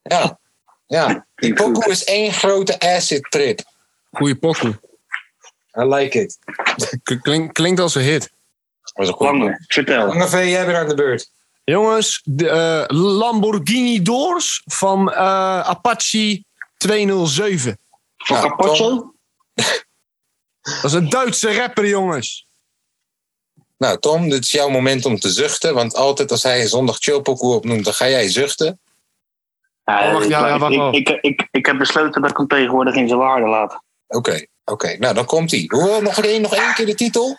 Ja, ja. Die pokoe is één grote acid trip.
Goeie pokoe.
I like it.
Klink, klinkt als een hit.
Was Lange, vertel. Lange V, jij bent aan de beurt.
Jongens, de eh, Lamborghini Doors van eh, Apache 207.
Van Capaccio?
Dat is een Duitse rapper, jongens.
Nou, Tom, dit is jouw moment om te zuchten. Want altijd als hij een zondag chillpokoe opnoemt, dan ga jij zuchten.
Ja,
Oh, wacht, ja,
Eh, maar
ja, wacht
ik,
wel.
ik, ik, ik, ik heb besloten dat ik hem tegenwoordig in zijn waarde laat.
Oké, oké. Nou, dan komt hij. Hoewel, nog één, nog één keer de titel.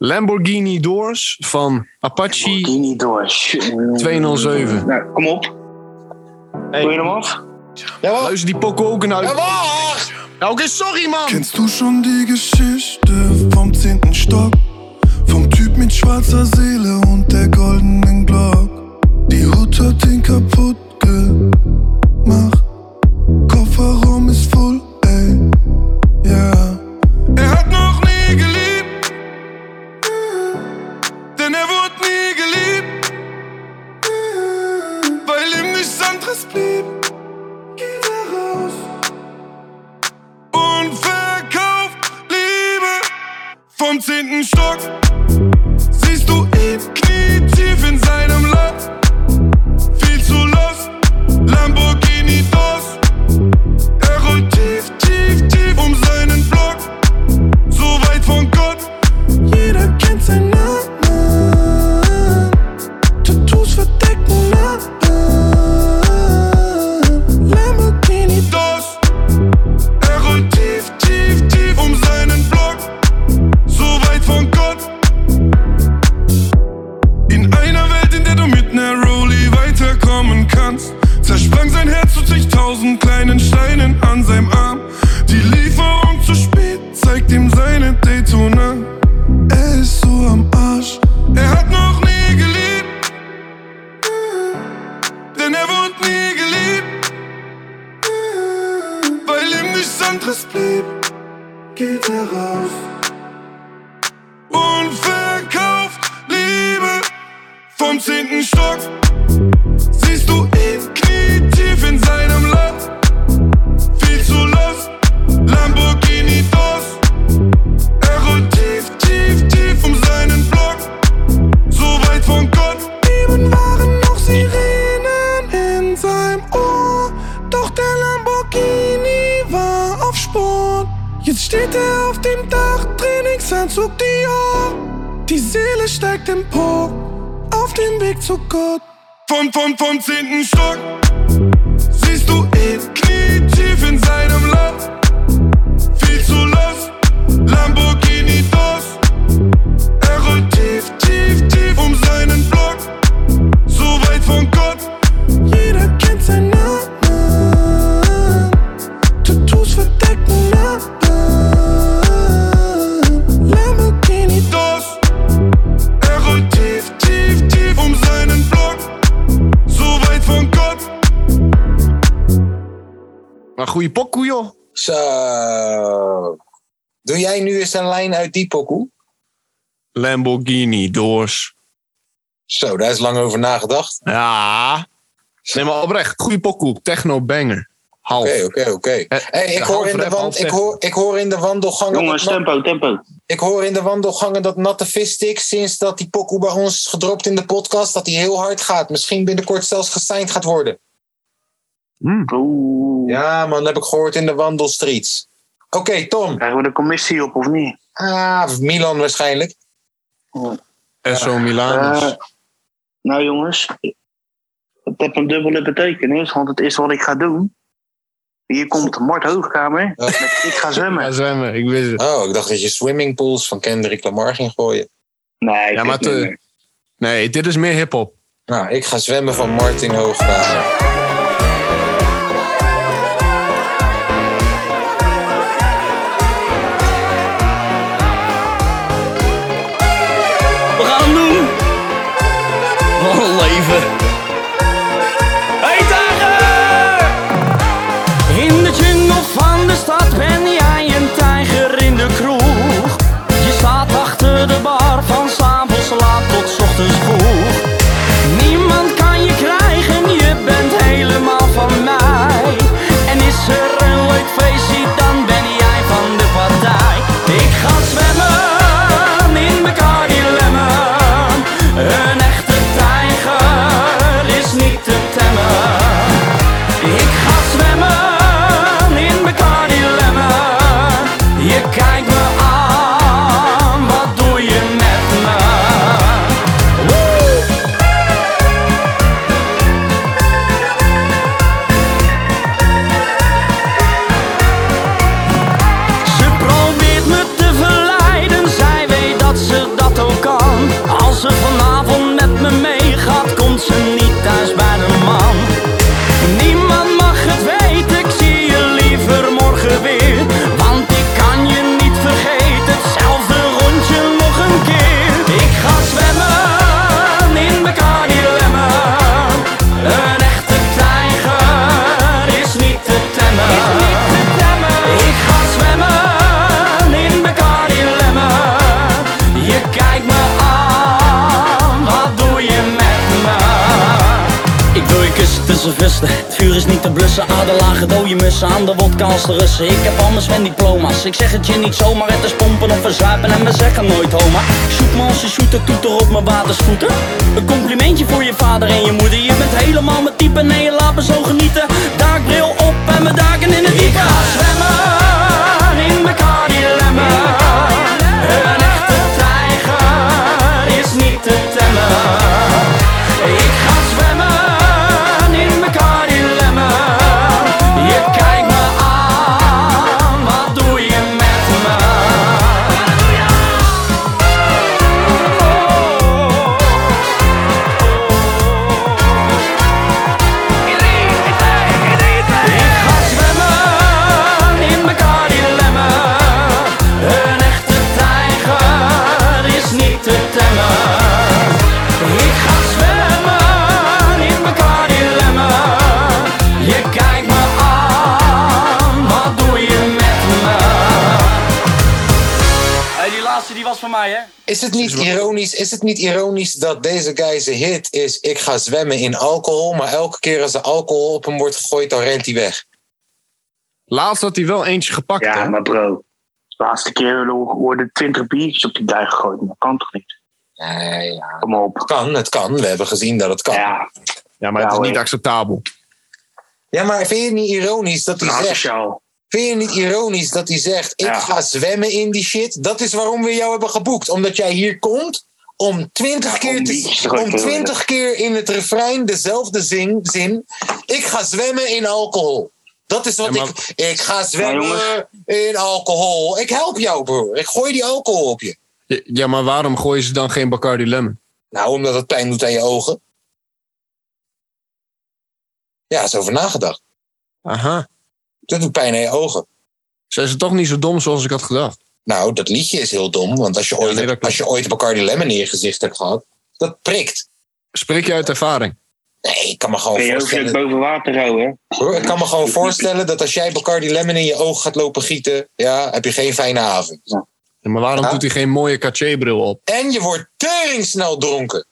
Lamborghini Doors van Apache.
Lamborghini Doors.
207.
Nou, kom op.
Hey. Doe je
hem af?
Luister die pokken ook naar uit.
Ja,
wacht! Nou, oké, sorry, man!
Kennst du schon die Geschichte vom zehnten Stock? Vom Typ mit schwarzer Seele und der goldenen Glock. Die Hut hat ihn kaputt gemacht. Kofferraum ist voll, ey. Ja. Er hat noch nie geliebt. Denn er wurde nie geliebt. Weil ihm nichts anderes blieb. Geht er raus. Unverkauft Liebe vom zehnten Stock. Siehst du ihn knietief in seinem Loch. Viel zu los, Lamborghini Dos. Er rollt tief, tief, tief um seinen Block. So weit von Gott, jeder kennt seinen Namen. Tattoos verdecken Namen. Lamborghini Dos. Er rollt tief, tief, tief um seinen Block. So weit von Gott. In einer Welt, in der du mit ner Rolli weiterkommen kannst, zersprang sein Herz zu zigtausend kleinen Steinen an seinem Arm. Die Lieferung zu spät zeigt ihm seine Daytona. Er ist so am Arsch. Er hat noch nie geliebt, denn er wurde nie geliebt weil ihm nichts anderes blieb, geht er raus. Unverkauft Liebe vom zehnten Stock. Siehst du ihn knietief in seinem Loch. Viel zu los, Lamborghini Dos. Er rollt tief, tief, tief um seinen Block. So weit von Gott. Eben waren noch Sirenen in seinem Ohr. Doch der Lamborghini war auf Sport. Jetzt steht er auf dem Dach, Trainingsanzug Dior. Die Seele steigt empor, auf dem Weg zu Gott. Vom, vom, vom zehnten Stock siehst du ihn knietief in seinem Loch. Viel zu los, Lamborghini Dos. Er rollt tief, tief, tief um seinen Block. So weit von Gott. Jeder kennt seinen Namen. Tattoos verdecken Namen. Lamborghini Dos. Er rollt tief, tief, tief um seinen Block. So weit von Gott.
Maar goede pokoe, joh.
Zo. Doe jij nu eens een lijn uit die pokoe?
Lamborghini Doors.
Zo, daar is lang over nagedacht.
Ja. Nee, maar oprecht. Goeie pokoe. Techno banger. Half. Eh,
Oké, oké, oké. Hey, ik, hoor in Nou, de wand, ik, hoor, ik hoor in de wandelgangen...
Jongens,
dat nat-
tempo, tempo.
Ik hoor in de wandelgangen dat natte visstick... sinds dat die pokoe bij ons is gedropt in de podcast... dat hij heel hard gaat. Misschien binnenkort zelfs gesigned gaat worden. Hm. Ja, man, dat heb ik gehoord in de wandelstreets. Oké, Tom.
Krijgen we de commissie op of niet?
Ah, Milan waarschijnlijk.
SO
Eh, nou jongens, het heeft een dubbele betekenis, want het is wat ik ga doen. Hier komt Mart Hoogkamer met Ik ga zwemmen.
zwemmen, ik wist het.
Oh, ik dacht dat je swimmingpools van Kendrick Lamar ging gooien.
Nee,
Ja, maar
dit
te-
niet.
Nee, dit is meer hip-hop.
Nou, ik ga zwemmen van Martin Hoogkamer.
Ah,
vuur is niet te blussen. Adelagen dode mussen, aan de wodka als de Russen. Ik heb anders mijn diploma's. Ik zeg het je niet zomaar, het is pompen of verzuipen en we zeggen nooit homa. Shoot me als je shooter, toeter op mijn watersvoeten. Een complimentje voor je vader en je moeder. Je bent helemaal mijn type, nee je laat me zo genieten. Daakbril op en mijn daken in het diepe. Ik ga zwemmen in mijn dilemma. Een echte tijger is niet te temmen. Ik ga zwemmen in mekaar dilemma. Je kijkt me aan, wat doe je met me? Ik ga zwemmen in mekaar dilemma. Een echte tijger is niet te temmen. Ik ga zwemmen in mekaar dilemma. Je kijkt me aan, wat doe je met me? Hey, die laatste die was van mij, hè?
Is het, niet ironisch, is het niet ironisch dat deze guy zijn hit is Ik ga zwemmen in alcohol, maar elke keer als er alcohol op hem wordt gegooid, dan rent hij weg?
Laatst had hij wel eentje gepakt.
Ja, maar bro. De laatste keer worden 20 biertjes op die dij gegooid. Dat kan toch niet?
Nee, ja.
Kom op.
Het kan, het kan. We hebben gezien dat het kan. Ja,
maar het is niet acceptabel.
Ja, maar vind je niet ironisch dat hij
Nou,
zegt... Vind je niet ironisch dat hij zegt... Ik ga zwemmen in die shit. Dat is waarom we jou hebben geboekt. Omdat jij hier komt om twintig keer,
biertjes
te,
te gooien,
om
te
20 keer in het refrein dezelfde zin, zin... Ik ga zwemmen in alcohol. Dat is wat ik... Ik
Nou,
ga zwemmen in alcohol. Ik help jou, broer. Ik gooi die alcohol op je.
Ja, maar waarom gooien ze dan geen Bacardi Lemon?
Nou, omdat het pijn doet aan je ogen. Ja, is over nagedacht.
Aha.
Dat doet pijn aan je ogen.
Zijn ze toch niet zo dom zoals ik had gedacht?
Nou, dat liedje is heel dom. Want als je ooit, als je ooit Bacardi Lemon in je gezicht hebt gehad, dat prikt.
Spreek je uit ervaring?
Nee, ik kan me gewoon
Kun je ook
voorstellen...
het boven water houden,
Broer, ik kan me gewoon voorstellen dat als jij Bacardi Lemon in je ogen gaat lopen gieten, ja, heb je geen fijne avond.
Ja, maar waarom doet hij geen mooie Cartier-bril op?
En je wordt teringsnel dronken.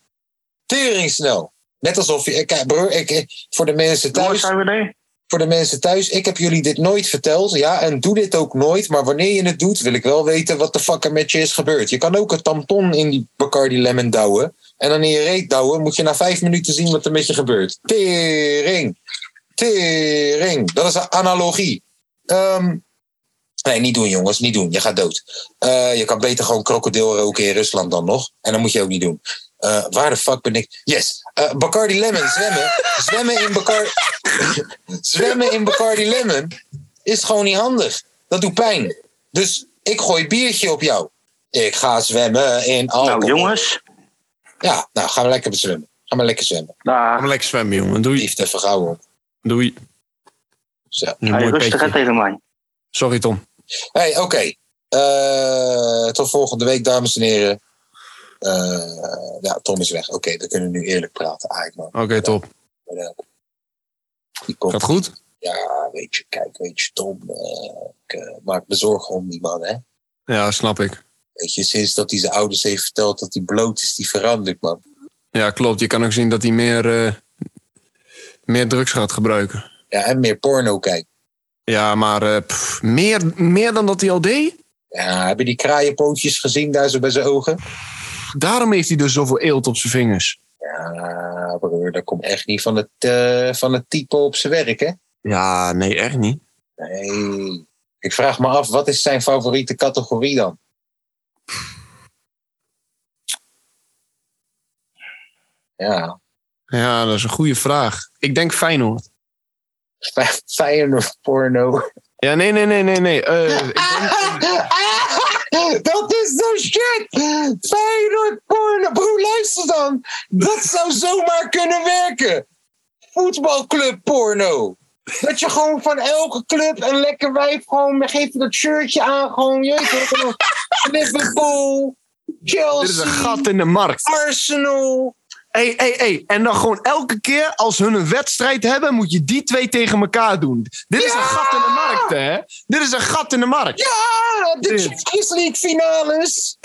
Teringsnel. Net alsof je... eh, Kijk, broer, ik, ik- voor de mensen thuis... Voor de mensen thuis, ik heb jullie dit nooit verteld. Ja, en doe dit ook nooit. Maar wanneer je het doet, wil ik wel weten wat de fuck er met je is gebeurd. Je kan ook een tampon in die Bacardi Lemon douwen. En dan in je reet douwen, moet je na vijf minuten zien wat er met je gebeurt. Tering. Tering. Dat is een analogie. Ehm, nee, niet doen jongens, niet doen. Je gaat dood. Eh, je kan beter gewoon krokodil roken in Rusland dan nog. En dat moet je ook niet doen. Eh, waar de fuck ben ik? Yes. Eh, Bacardi Lemon, zwemmen. zwemmen, in Bacardi, zwemmen in Bacardi Lemon is gewoon niet handig. Dat doet pijn. Dus ik gooi biertje op jou. Ik ga zwemmen in alcohol. Nou
jongens.
Ja, nou gaan we lekker zwemmen. Ga maar lekker zwemmen.
Ga maar lekker zwemmen, jongen. Doei.
Liefde vergouwen.
Doei.
Zo.
Een
Hey,
mooi
rustig,
petje.
hè, tegen mij.
Sorry, Tom.
Hey, oké. Eh, tot volgende week, dames en heren. Eh, ja, Tom is weg. Oké, dan kunnen we nu eerlijk praten. Ah, ik mag-
Oké, top.
Gaat
goed?
Ja, weet je, kijk, weet je, Tom. eh, ik eh, maak me zorgen om die man, hè.
Ja, snap ik.
Weet je, sinds dat hij zijn ouders heeft verteld dat hij bloot is, die verandert, man.
Ja, klopt. Je kan ook zien dat hij meer, eh, meer drugs gaat gebruiken.
Ja, en meer porno kijkt.
Ja, maar eh, pff, meer, meer dan dat hij al deed?
Ja, heb je die kraaienpootjes gezien daar zo bij zijn ogen?
Daarom heeft hij dus zoveel eelt op zijn vingers.
Ja, Ah, broer, dat komt echt niet van het, eh, van het type op zijn werk, hè?
Ja, nee, echt niet.
Nee. Ik vraag me af, wat is zijn favoriete categorie dan? Ja.
Ja, dat is een goede vraag. Ik denk Feyenoord.
Feyenoord porno.
Ja, nee, nee, nee, nee, nee.
Ah,
Eh, ik denk-
Dat is zo shit! Feyenoord porno. Broer, luister dan. Dat zou zomaar kunnen werken. Voetbalclub porno. Dat je gewoon van elke club een lekker wijf gewoon... Geef je dat shirtje aan gewoon. Je weet het wel. Liverpool. Chelsea.
Dit is een gat in de markt.
Arsenal.
Hey, hey, hey. En dan gewoon elke keer als hun een wedstrijd hebben, moet je die twee tegen elkaar doen. Dit is een gat in de markt, hè? Dit is een gat in de markt.
Ja, de
Dit.
Champions League finales.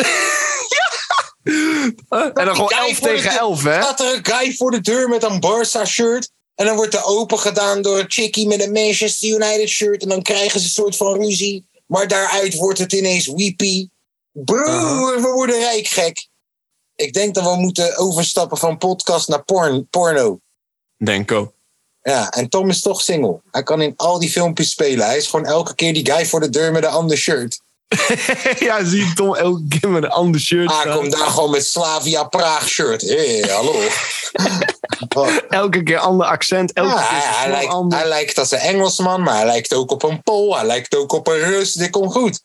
En dan gewoon 11 tegen 11, hè?
Staat er een guy voor de deur met een Barca shirt. En dan wordt er open gedaan door een chickie met een Manchester United shirt. En dan krijgen ze een soort van ruzie. Maar daaruit wordt het ineens weepy. Broer, we worden rijk gek. Ik denk dat we moeten overstappen van podcast naar porn, porno.
Denko.
Ja, en Tom is toch single. Hij kan in al die filmpjes spelen. Hij is gewoon elke keer die guy voor de deur met een ander shirt.
ja, zie Tom elke keer met een ander shirt.
Hij komt Ah, daar gewoon met Slavia Praag shirt. Hé, hallo.
elke keer ander accent. Elke
Ja,
keer
hij, hij
zo
lijkt, hij lijkt als een Engelsman, maar hij lijkt ook op een Pool. Hij lijkt ook op een Rus. Dit komt goed.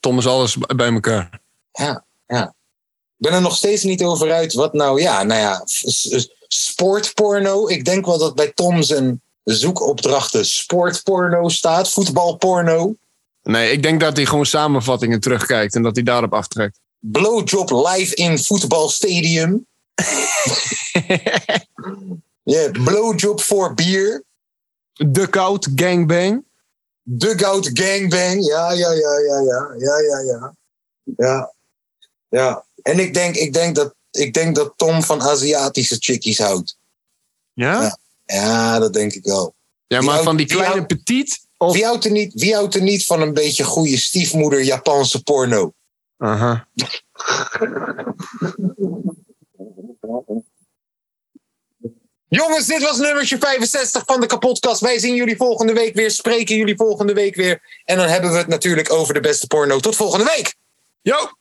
Tom is alles b- bij elkaar.
Ja, ja. Ik ben er nog steeds niet over uit wat nou, ja, nou ja, s- s- sportporno. Ik denk wel dat bij Tom zijn zoekopdrachten sportporno staat, voetbalporno.
Nee, ik denk dat hij gewoon samenvattingen terugkijkt en dat hij daarop aftrekt.
Blowjob live in voetbalstadium. Je hebt blowjob voor bier.
Duckout gangbang.
Duckout gangbang, ja, ja, ja, ja, ja, ja, ja, ja. Ja, ja. En ik denk, ik denk, dat, ik denk dat Tom van Aziatische chickies houdt.
Ja?
Ja, ja, dat denk ik wel.
Ja, maar van die kleine petit?
Wie, houdt er niet, wie houdt er niet van een beetje goede stiefmoeder Japanse porno?
Aha.
Jongens, dit was nummertje 65 van de kapotkast. Wij zien jullie volgende week weer, spreken jullie volgende week weer. En dan hebben we het natuurlijk over de beste porno. Tot volgende week!
Yo!